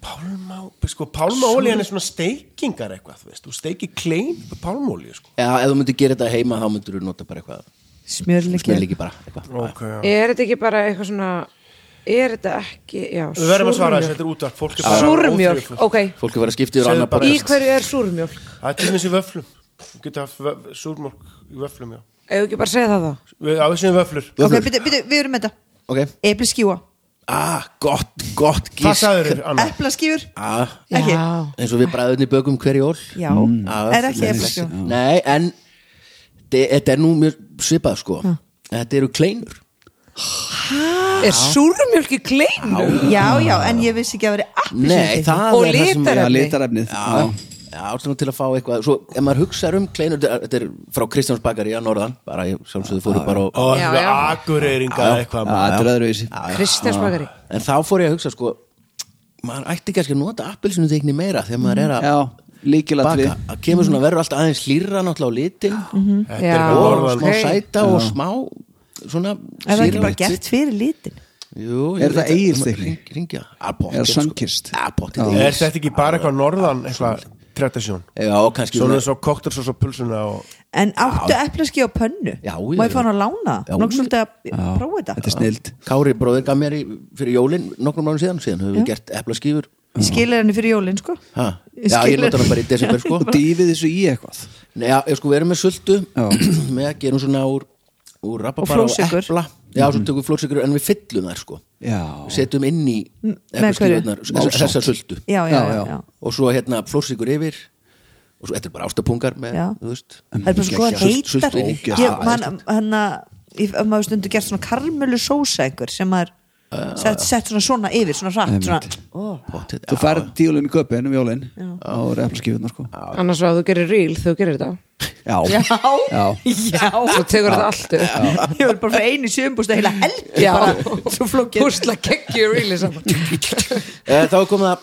S3: pálma, sko, pálmaoljan er svona steikingar eitthvað, þú veist, þú steikir klein pálmaolju, sko
S1: Já, ef þú myndir gera þetta heima þá myndir þú nota bara eitthvað Smell
S2: smjörleiki
S1: ekki bara eitthvað
S3: okay, já.
S5: er þetta ekki bara eitthvað svona er þetta ekki já,
S3: við verðum að svara þessu,
S5: súrmjólk.
S3: þetta er útvarp fólk er bara
S5: súrmjólk,
S3: óþreyjufull.
S5: ok
S1: Fólk er verið að skipta yfir á
S3: Segðu
S1: annar
S3: bara-
S5: í
S1: podcast
S5: hverju er súrmjólk
S3: Það er til þessi vöflum Þú getur haft vöf, súrmólk í vöflum, já
S5: eða ekki bara að segja það þá
S3: Við, Á þessu er vöflur
S2: ok, byrju, byrju, við erum með þetta
S1: Ok,
S2: eplaskífa,
S1: ah, gott, gott
S3: Hvað
S1: gísk
S3: sagður þér, Anna?
S2: eplaskífur
S1: Ah,
S2: ekki,
S5: já,
S1: eins og við bræðunni bökum hverju ól
S2: já, er ekki eplaskífa
S1: Nei, en de- þetta er nú mjög svipað sko Þetta eru kleinur
S5: er súrmjólk í kleinu
S2: já, já, en ég vissi ekki að vera appisinu
S1: Nei, það
S5: Og
S1: er það sem
S5: litarefni.
S4: Já, litarefnið
S1: Já,
S4: Já.
S1: já, svona til að fá eitthvað Svo, ef maður hugsaður um kleinur þetta er- Þetta er frá Kristjáns Bakari að norðan Bara, ég sjálfsögðu fóru bara og
S3: Ó,
S5: Já,
S3: það
S5: já.
S3: er akureyringa
S4: Já,
S3: eitthvað
S4: Þetta er öðruvísi
S5: Kristjáns bakari
S1: En þá fór ég að hugsa sko Maður ætti kannski að nota appilsinu þykni meira Þegar maður er að
S4: Já, líkilatrið
S1: baka Það kemur svona verður alltaf aðeins hlýra náttúrulega á litin
S2: Mhm.
S3: Þetta
S5: Já.
S3: er eitthvað
S1: Og
S5: Norðan.
S1: smá
S3: norðan
S5: Óskei.
S1: sæta og smá Svona
S2: er það ekki bara
S1: sýrulegt.
S2: gert fyrir litin
S1: Jú, ég
S4: Er
S1: veit
S4: það
S1: að-
S4: Egilsþykni?
S1: Hring- Hringja Apottet,
S4: Er
S1: sko.
S4: Sunkist?
S1: Apottet,
S4: Já.
S3: Er
S1: Egils.
S3: þetta ekki bara eitthvað norðan, eitthvað tradisjón?
S1: Já, og kannski
S3: Svona
S1: svona-
S3: svo koktur svo svo pulsuna og
S2: en áttu eplaskífa á pönnu
S1: Já, já.
S2: má ég fá hann að lána
S1: Já.
S2: nokkuð svolítið að prófa þetta
S4: Þetta er snild
S1: Kári bróðir gaf mér í, fyrir jólin nokkrum mánu síðan, síðan höfum við gert eplaskýfur
S2: Ég skilir henni fyrir jólin sko
S1: Ha? Já, ég nota hana bara í desember sko
S4: Og dýfið þessu í eitthvað
S1: Nei, já, ég sko, við erum með sultu
S4: Já.
S1: með að gerum svona úr, úr rababara og,
S2: flórsykur.
S1: epla Já,
S2: Mhm.
S1: svo tökum við flóksikur en við fyllum þær sko
S4: Já
S1: setjum inn í
S2: hverju?
S1: eplaskýfurnar þessa, þessa sultu
S2: já, já,
S4: Já,
S2: já,
S4: já.
S2: já.
S1: og svo hérna flóksikur yfir og svo þetta er bara ástapungar með,
S2: Já.
S1: þú veist
S2: það er bara svo góða
S1: Sult-
S2: heitar
S1: sultu inn í.
S2: ég, man, hann að ef maður stundu gert svona karmölu sósa einhver sem maður sett, sett svona svona yfir, svona hratt svona, ó,
S1: Pottet,
S4: Þú færð tíulinn í köpinn um jólinn á reflaskifunnar sko
S5: annars að þú gerir ríl, þú gerir þetta
S4: Já,
S2: já, já,
S4: Já.
S5: svo tekur þetta allt upp
S2: ég vil bara frá einu sömbústa heila helgi
S5: Já.
S2: bara, svo flókið
S5: húsla kekkju ríli saman
S1: Eh, Þá er komið að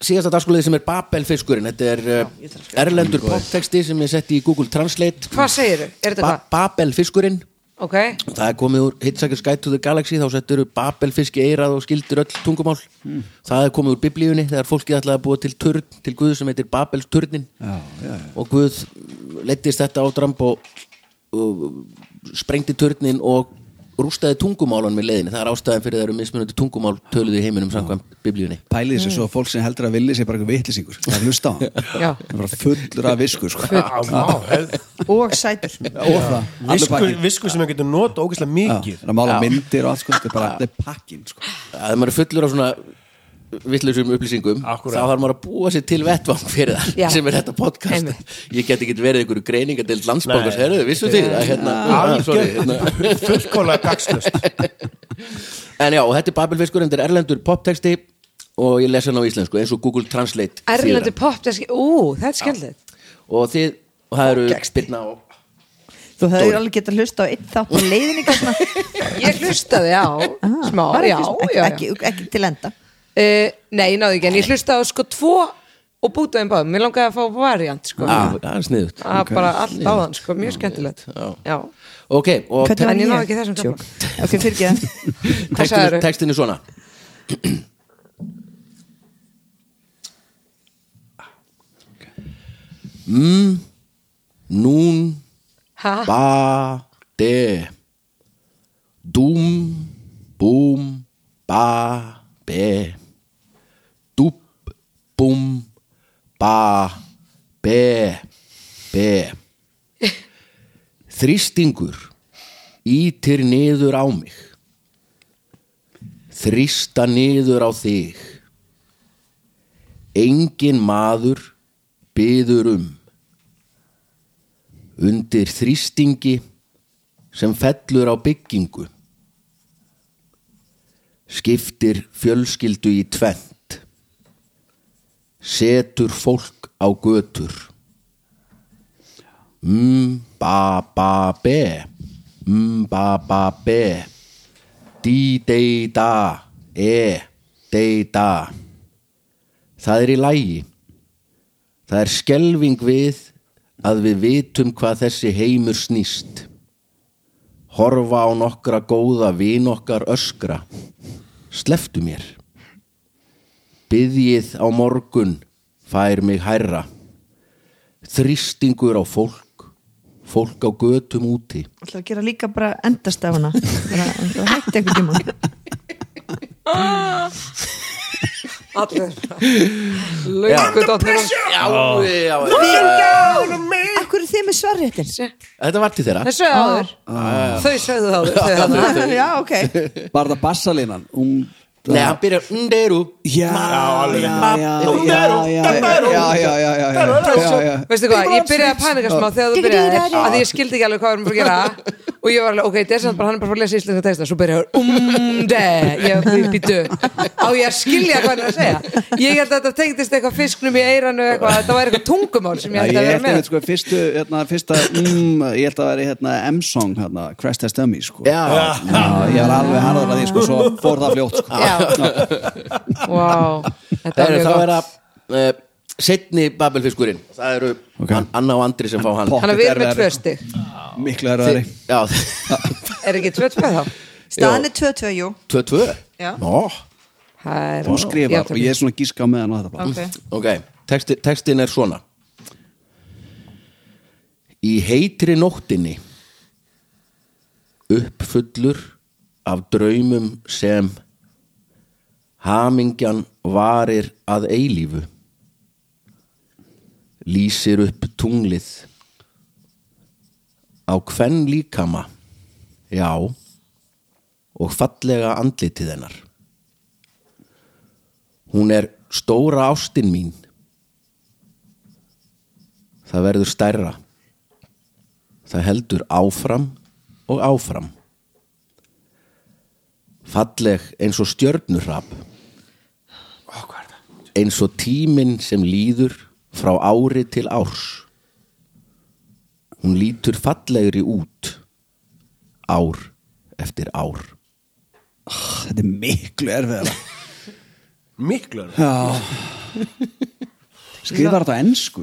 S1: síðasta dagskulegið sem er Babelfiskurinn Þetta er eh, erlendur poptexti sem ég setti í Google Translate
S5: hvað segirðu, er þetta
S1: ba
S5: það?
S1: Babelfiskurinn
S5: ok,
S1: Það er komið úr Hitchhiker's Guide to the Galaxy þá settur Babelfiski eirað og skildir öll tungumál Það er komið úr biblíunni þegar fólkið ætlaði að búa til turn til Guð sem heitir Babelsturnin
S4: já, já,
S1: og Guð leittist þetta ádramp og, og sprengdi turnin og rústaði tungumálan með leiðinni það er ástæðan fyrir það eru mismunandi tungumál töluð í heiminum samkvæmt biblíunni
S4: Pælið þessu svo að fólk sem heldur að villi sé bara eitthvað vitlisingur Það er hlusta á hann
S5: Já.
S4: Það er bara fullur af visku sko Já,
S3: Ah,
S2: og sætur
S4: Og það, allur
S3: visku,
S4: pakkin
S3: visku sem við getum notað ógeðslega
S4: Já,
S3: mikið
S4: Það mála myndir og allt sko Þetta er bara, þetta er pakkin sko
S1: að maður er fullur af svona vittlausum upplýsingum
S3: Akkúrat.
S1: þá þarf maður að búa sér til vettvang fyrir það
S5: Já.
S1: sem er þetta podcast
S5: Einmitt.
S1: ég get ekki verið einhverju greiningadeild landsbankars
S3: Nei.
S1: herðu, vissu þið að hérna, ah, sorry, hérna.
S3: Algjör fullkóla gagslust
S1: hérna. en já, og þetta er Babelfiskur en þetta er erlendur poptexti og ég lesa hann á íslensku eins og Google Translate
S5: erlendur
S1: þýðir
S5: pop það er ske- ú, það er skemmtilegt
S1: hann. og þið, og það eru spyrna og
S2: þú hefur alveg getað hlusta á einn þátt og leiðinni gætna
S5: ég hlustaði á, smá, já,
S2: Ah, ekki,
S5: já, já.
S2: ekki, ekki til enda
S5: Uh, nei, ég náði ekki, en ég hlustaði á sko tvo og bútaði um báðum, mér langaði að fá variant sko,
S1: ah, það er sniðut
S5: að bara allt á þann sko, mjög skemmtilegt
S1: Já.
S5: Já.
S1: ok, og
S2: Hvernig var
S5: En ég náði ekki þessum kafla.
S2: Sjók. ok, fyrir ekki
S5: Hvað sagðirðu?
S1: textin, textin er svona mm, Nún
S5: Ha?
S1: Ba De Dúm Búm Ba Be Dúb Búm Ba Be Be Þrýstingur Ítir niður á mig Þrýsta niður á þig Engin maður byður um undir þrýstingi sem fellur á byggingu skiptir fjölskyldu í tvent setur fólk á götur m-ba-ba-be m-ba-ba-be di-de-da e-de-da það er í lægi Það er skelving við að við vitum hvað þessi heimur snýst. Horfa á nokkra góða vin okkar öskra. Sleftu mér. Byðjið á morgun fær mig hærra. Þrýstingur á fólk, fólk á götum úti.
S2: ætla að gera líka bara endastafuna bara ætla að hætti eitthvað tíma
S5: Allir Löngu dóttir
S1: Já, já,
S2: akkur er þið með svarréttin
S1: Þetta var til þeirra.
S5: Þau sögðu áður Þau sögðu áður þau þarna.
S2: já, ok
S4: Bara það bassalínan um,
S1: Nei, hann byrjar nderu.
S4: Já,
S1: alveg.
S4: já, já, já, já, já, já, já, já, já, já, já.
S5: Veistu hvað, ég byrjaði að panika smá þegar þú byrjaði að því ég skildi ekki alveg hvað við erum að gera og ég var alveg, ok, þetta er samt bara hann er bara að lesa íslenska texta svo byrjaði umde ég býtu, á ég að skilja hvað hann er að segja ég held að þetta tengdist eitthvað fisknum í eiranu eitthvað, þetta væri eitthvað tungumál sem
S4: Já,
S5: ég
S4: ég held
S5: held að vera
S4: að
S5: með
S4: sko, fyrstu, hérna, fyrsta mm, ég held að veri hérna M-song hérna, Crash Test Dummy sko.
S1: Já, já.
S4: Já, ég var alveg harður að því sko, svo fór það fljótt sko.
S5: Já, wow, þetta er
S1: Það eru
S5: mjög
S1: þá
S5: gott
S1: er að uh, setni Babelfiskurinn Það eru
S4: Ok.
S1: An- Anna og Andri sem fá hann
S4: Pott.
S5: Þannig að við erum með
S4: Þetta
S5: tvö
S4: er
S5: stig
S4: miklu erfiðari
S1: Já,
S5: Er ekki tvö tvö þá?
S2: staðan er 2-2, jú
S1: 2-2
S2: Já.
S1: Nó,
S5: Það er-
S4: þú skrifar
S5: Já,
S4: og ég er svona gíska á meðan á þetta blað.
S2: ok
S1: ok, Texti, textin er svona Í heitri nóttinni uppfullur af draumum sem hamingjan varir að eilífu lýsir upp tunglið á hvern líkama já og fallega andlitið hennar hún er stóra ástin mín það verður stærra það heldur áfram og áfram falleg eins og stjörnurrap
S3: Ó, hvað er það?
S1: eins og tíminn sem líður frá ári til árs hún lítur fallegri út ár eftir ár
S4: Þetta er miklu erfiðara
S3: Miklu er það
S4: Já Skrifar þetta á ensku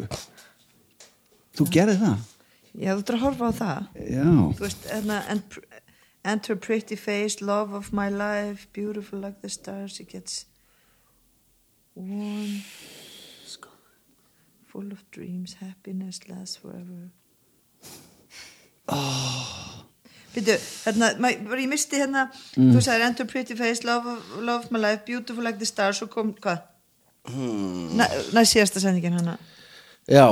S4: Þú gerði það
S2: Já, þú þurftur að horfa á það
S4: Já
S2: Þú veist, hérna and, pr- and her pretty face, love of my life beautiful like the stars it gets warm full of dreams happiness lasts forever Býtu, hérna, ma- bara ég misti hérna þú sagðir and her pretty face, love of, love of my life beautiful like the stars og kom, hvað? Hmm. Næst síðasta sendingin hana
S1: já,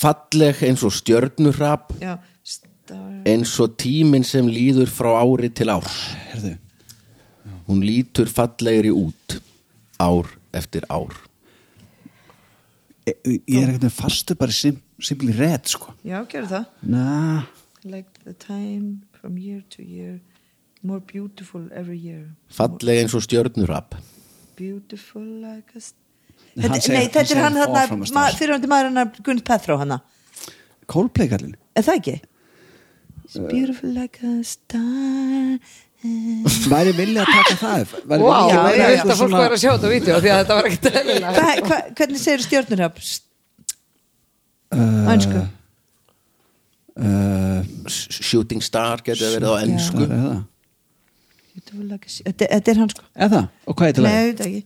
S1: falleg eins og stjörnurrap
S2: Já, star
S1: eins og tíminn sem líður frá ári til árs
S4: Herðu
S1: hún lítur fallegri út ár eftir ár
S4: Ég E, ég er ekkert með fastu bara sim, simpli redd sko
S2: Já, gerðu það
S4: Na
S2: like the time from year to year more beautiful every year
S1: falleg eins og stjörnurrap
S2: beautiful like a st-
S4: Nei, hann
S2: Þetta-
S4: segir-
S2: Nei,
S4: hann
S2: þetta er
S4: segir
S2: hann
S4: áfram að
S2: þarna
S4: stað.
S2: fyrirhundi maður hennar Gunn Pethró hana
S4: Coldplay kallin
S2: Er það ekki? It's
S4: Eh.
S2: beautiful like a star
S4: Væri vilja að taka það upp? Væri
S5: Wow,
S4: vilji-
S5: já,
S4: væri
S5: ég
S4: eitthvað
S5: veist að fólk
S4: svona-
S5: var að sjá þetta á vídeo því að þetta var ekkert eðlilega
S2: hva, hva, Hvernig segir stjórnurhaf?
S4: Eh.
S2: Uh, Ænsku
S4: Uh,
S1: shooting star getur verið á
S4: Sko
S1: ennsku
S4: Er það?
S2: Beautiful like a Þetta þetta er hann sko
S4: Er það? Og hvað er til
S2: Nei, þetta ekki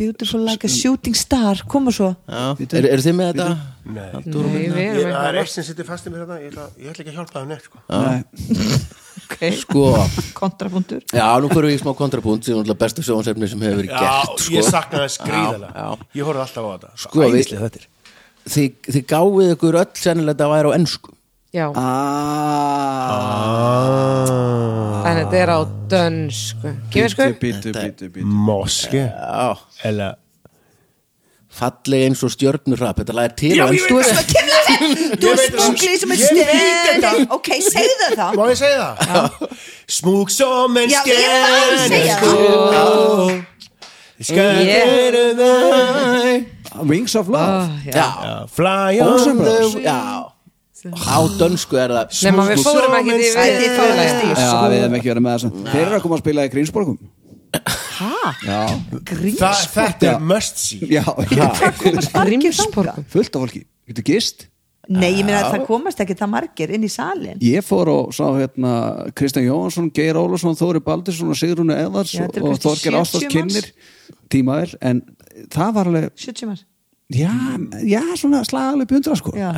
S2: Beautiful like a shooting star Koma svo
S3: Eh.
S1: Já, eru er þið með þetta?
S3: Nei
S5: Nei, við
S3: Ég,
S5: erum
S3: það er
S5: eitthvað
S3: eitt sem sittir fast í mér þetta, ég ætla, ég ætla ekki að hjálpa það neitt sko.
S4: það?
S5: okay.
S1: Sko,
S2: Kontrapunktur
S1: já, nú fyrir við í smá kontrapunkt sem er náttúrulega besta sjónsefni sem hefur verið gert sko.
S3: ég sakna þess
S1: Já,
S3: gríðalega
S1: já.
S3: Ég horfði alltaf á þetta
S1: Sko, við-
S3: Æðislega þetta er
S1: Þið, þið gáfið ykkur öll sennilega þetta væri á ennsku
S5: Já,
S4: Ah,
S5: en þetta er á dönsku Kýmesku?
S4: Bítu, bítu, bítu
S3: Moske
S1: Já,
S3: Eller
S1: falleg eins og stjörnurrap Þetta lagir til á
S3: Já, ég
S1: ennsku
S2: Þú ert svona kemlega Þú ert
S3: veit það.
S2: spungli sem er
S3: Ég veit
S2: stjörn Ok, segðu það þá
S3: Má ég segja það? Smúk som en sko.
S2: Já, ég var að segja það
S3: skjæðan Skjæðan
S4: Ah, Wings of Love
S5: Ah.
S1: Já,
S3: Fly
S1: on
S3: on
S1: the
S3: the
S1: Já, á dönsku er það
S5: Nei, maður
S4: Sko,
S5: við
S3: Smúk
S5: fórum
S3: som
S5: ekki
S3: en
S5: því
S2: Æ, þið fáið
S5: við
S2: ekki stíl.
S4: Já,
S5: Sko.
S4: við hefum ekki verið með þessum Þeir eru að koma að spila í Grínsborgum Hæ?
S3: Það- Þetta
S4: Já.
S3: er must see
S4: Já, já
S5: Grímsborg
S4: Fullt af fólki Getur gist?
S2: Nei, ég meina að það komast ekki það margir inn í salin
S4: Ég fór og sá hérna Kristján Jóhansson, Geir Ólafsson, Þóri Baldursson og Sigrúnu Eðars
S2: Já, þetta eru
S4: og
S2: kannski
S4: Þorger
S2: 70
S4: Ástast
S2: manns.
S4: kynir tímaður, en það var alveg
S2: 70 mann
S4: já, já svona slagaleg bjöndra sko
S2: Já,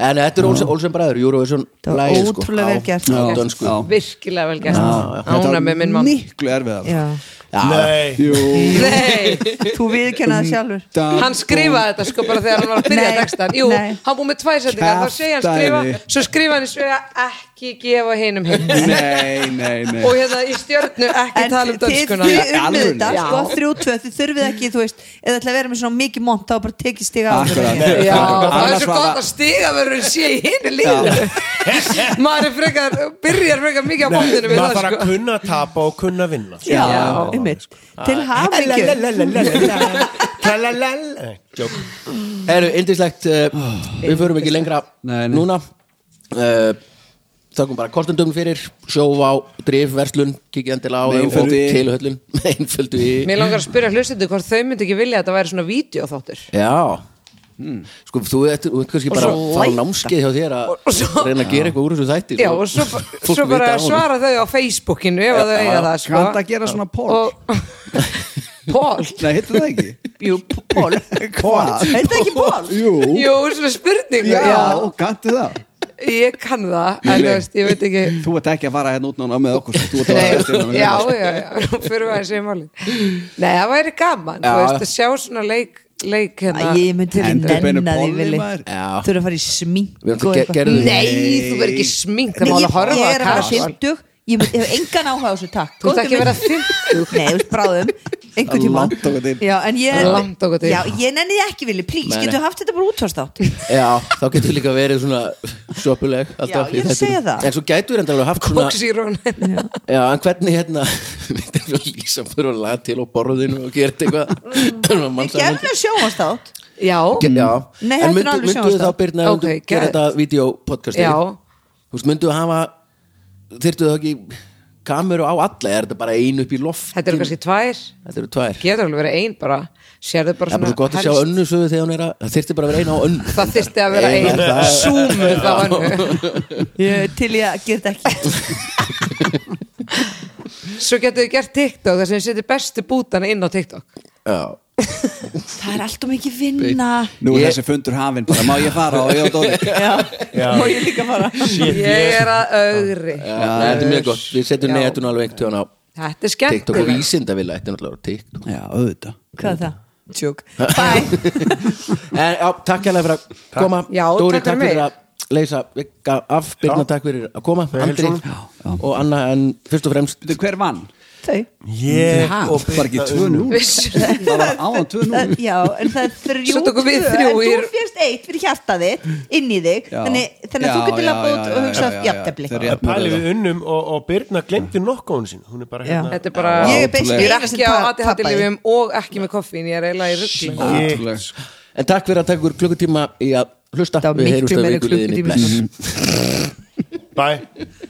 S1: En þetta er Olsen, Olsen Bræður, Eurovision
S2: Það var
S1: lagið, sko,
S2: ótrúlega
S1: á-
S2: vel gert.
S1: Á
S4: Já.
S1: dönsku
S4: Já.
S5: Virkilega vel gæst
S4: Þetta
S5: Ána
S4: var
S5: með minn mann
S4: miklu sko. erfiðar
S2: já
S1: Já,
S3: Nei
S4: Jú,
S5: Nei,
S2: Þú viðkennar það sjálfur
S4: da-
S5: hann skrifaði þetta sko bara þegar hann var að byrja
S2: Nei,
S5: textan Jú,
S2: nei.
S5: hann búið með tvær setningar þá segja hann skrifa,
S4: Kjaftæði.
S5: svo skrifa hann í svega ekki gefa hinum hinn
S4: Nei, nei, nei
S5: og hérna í stjörnu ekki
S2: En
S5: tala um
S2: þið
S5: dönskuna
S2: þið unnuð
S4: Alvöru.
S2: þetta,
S5: Já.
S2: sko, þrjú, tvö, þið þurfið ekki, þú veist, eða ætla að vera með svona mikið mont, þá bara tekið stiga á
S4: Akkurat.
S2: þér.
S5: Já,
S4: Annars
S5: það er svo
S4: var það-
S5: gott að stiga verður sé í hinu lífinu maður er frekar, byrjar frekar mikið á
S3: Maður
S5: bóndinu við það
S3: þarf að
S5: sko
S3: kunna tapa og kunna vinna
S2: Já, einmitt.
S5: Já.
S2: Til hafingju.
S3: Lalalalalalala. Tralalala. Nei, joke.
S1: Herru, indislegt, uh, við förum ekki lengra
S4: Nei, nei.
S1: núna uh, Þökkum bara kostendum fyrir sjóvá, drif, verslun, kikið endilega á
S4: Með
S1: og-
S4: einföldu í.
S1: og tilhöllun, einföldu í
S5: Mér langar að spyrja hlustendur hvort þau myndi ekki vilja að þetta væri svona vídeoþáttur
S1: Já
S4: Hmm.
S1: Sko, þú ert, þú ert kannski bara að
S5: svo
S1: fara
S5: læta.
S1: námskeið hjá þér að
S5: Og- og svo-
S1: reyna að gera eitthvað úr þessu þætti sko.
S5: Já, og svo, ba- svo bara svara þau á Facebookinu ef að þau eiga það sko
S4: Kanntu að gera svona poll?
S5: Pól?
S4: Nei, hittu það ekki
S5: Jú, pól
S4: Hvað?
S2: Er þetta ekki ból?
S4: Jú,
S5: Jú, svona spurningu
S4: já,
S5: já.
S4: kanntu það
S5: Ég kann það, en þú
S4: Nei.
S5: veist, ég veit ekki
S4: Þú ert ekki að fara hérna út núna með okkur sko. Þú ert að fara
S5: Nei,
S4: hérna inn á
S5: já,
S4: mig.
S5: já, já, nú fyrir við að segja máli Nei, það væri gaman,
S1: Já.
S5: þú veist, að sjá svona leik, leik
S2: Æ,
S5: hérna
S2: ég myndi ekki
S4: Hendur beinu
S2: nenna því,
S4: bolli,
S2: Vili.
S4: maður.
S1: Já.
S2: Þú eru að fara í smink
S1: Við erum
S2: og
S1: til-
S2: eitthvað.
S1: gerðum-
S5: Nei, þú verður ekki smink, það
S2: Nei,
S5: má alveg horfa
S2: Ég er
S5: að
S2: að vera
S5: kasual.
S2: 50 Ég mun- ég hef engan áhuga á þessu takk
S5: Þú ert ekki að vera 50
S2: Nei, þú veist bráðum einhvern tímann
S4: Langt okkur til.
S2: já, en ég,
S5: Langt okkur til.
S2: já, ég nenni því ekki vilja plís,
S1: Nei, nei.
S2: getur haft þetta bara útvarstátt
S4: Eh,
S1: Já, þá getur líka verið svona sjopuleg alltaf
S2: Já, ég er að
S1: í þættinum.
S2: segja það.
S1: En svo gætur við enda alveg haft svona
S5: Coke Zero
S1: Já, en hvernig hérna Við erum að lýsa fyrir að laga til á borðinu og gera
S5: Mm.
S1: eitthvað
S2: við gerðum sjónvarstátt
S5: Já,
S1: Já,
S2: Nei, þetta er
S1: en myndu,
S2: alveg
S1: myndu þá
S2: sjónvarpsþáttur.
S1: byrna okay, myndu
S5: Ok,
S1: gera
S5: geðveikt.
S1: þetta videopodcasti
S5: Já.
S1: Þú veist, myndu hafa þyrftu það ekki kameru á alla er þetta bara einu upp í loft
S5: þetta eru kannski tvær
S1: Þetta eru tvær
S5: Getur alveg verið ein bara Sérðu bara
S1: Það er
S5: svona
S1: bara svo gott að sjá
S5: helst-
S1: önnu sögu þegar hún er að það þyrfti bara að vera einu á önnu
S5: Það þyrfti að vera ein Súmu þá önnu
S2: Ég- til ég að gera þetta ekki
S5: Svo getur við gert TikTok þar sem við setjum bestu bútana inn á TikTok
S1: Já
S2: það er alltaf mikið vinna
S4: Nú er
S1: Ég-
S4: þessi fundur hafinn bara, má ég fara og ég á dóti
S2: já, og ég líka fara
S3: Shit,
S5: Ég er að ögri
S1: Já, þetta er mjög gott, við setjum
S5: Já.
S1: netun alveg einhvern tíðan á
S5: Þetta er
S1: TikTok og
S5: skemmtilegt
S1: vísindavilla, þetta er náttúrulega á TikTok
S4: Já, auðvitað
S2: hvað er það? tjók, bye
S1: En já, takk hérlega fyrir að koma
S5: Já,
S1: Dóri,
S5: takk fyrir
S1: takk fyrir
S5: mig.
S1: að leysa vika af, Birna,
S3: Já.
S1: takk fyrir að koma
S3: Með
S1: Andri
S3: heilsunum.
S1: og Anna, en fyrst og fremst
S4: Veitu, hver vann?
S2: þau
S3: Ég
S4: Ha,
S3: og
S4: bara Ah. ekki 2-0
S5: Vissu
S4: Það var áðan 2-0
S2: Það- Já, en það er þrjú
S5: Svo tókum við
S2: tvö,
S5: þrjú í-
S2: En þú férst eitt fyrir hjartað þitt inn í þig
S4: Já.
S2: Þannig, þannig að
S4: Já,
S2: þú getur
S4: já,
S2: labbað út
S4: já,
S2: og
S4: já,
S2: hugsað
S4: já, já,
S2: jafntefli
S4: þeir eru-
S3: Birna Pæli við unnum og, og Birna glemdi nokkónu sín Hún er bara
S2: Já.
S3: hérna
S5: Þetta er bara
S2: Ég er
S4: basically
S5: Ég er
S2: eina sem
S5: ekki
S2: ta-
S5: á ADHD-lifjum
S2: tappaði.
S5: og ekki með koffín Ég er eiginlega í ruggling
S3: Shit.
S1: En takk fyrir að taka ykkur klukkutíma í að hlusta
S2: Það var
S1: Við
S2: miklu
S1: heyrumst að
S2: meira
S1: vikuliðinni
S2: klukkutími.
S1: bless
S3: Bye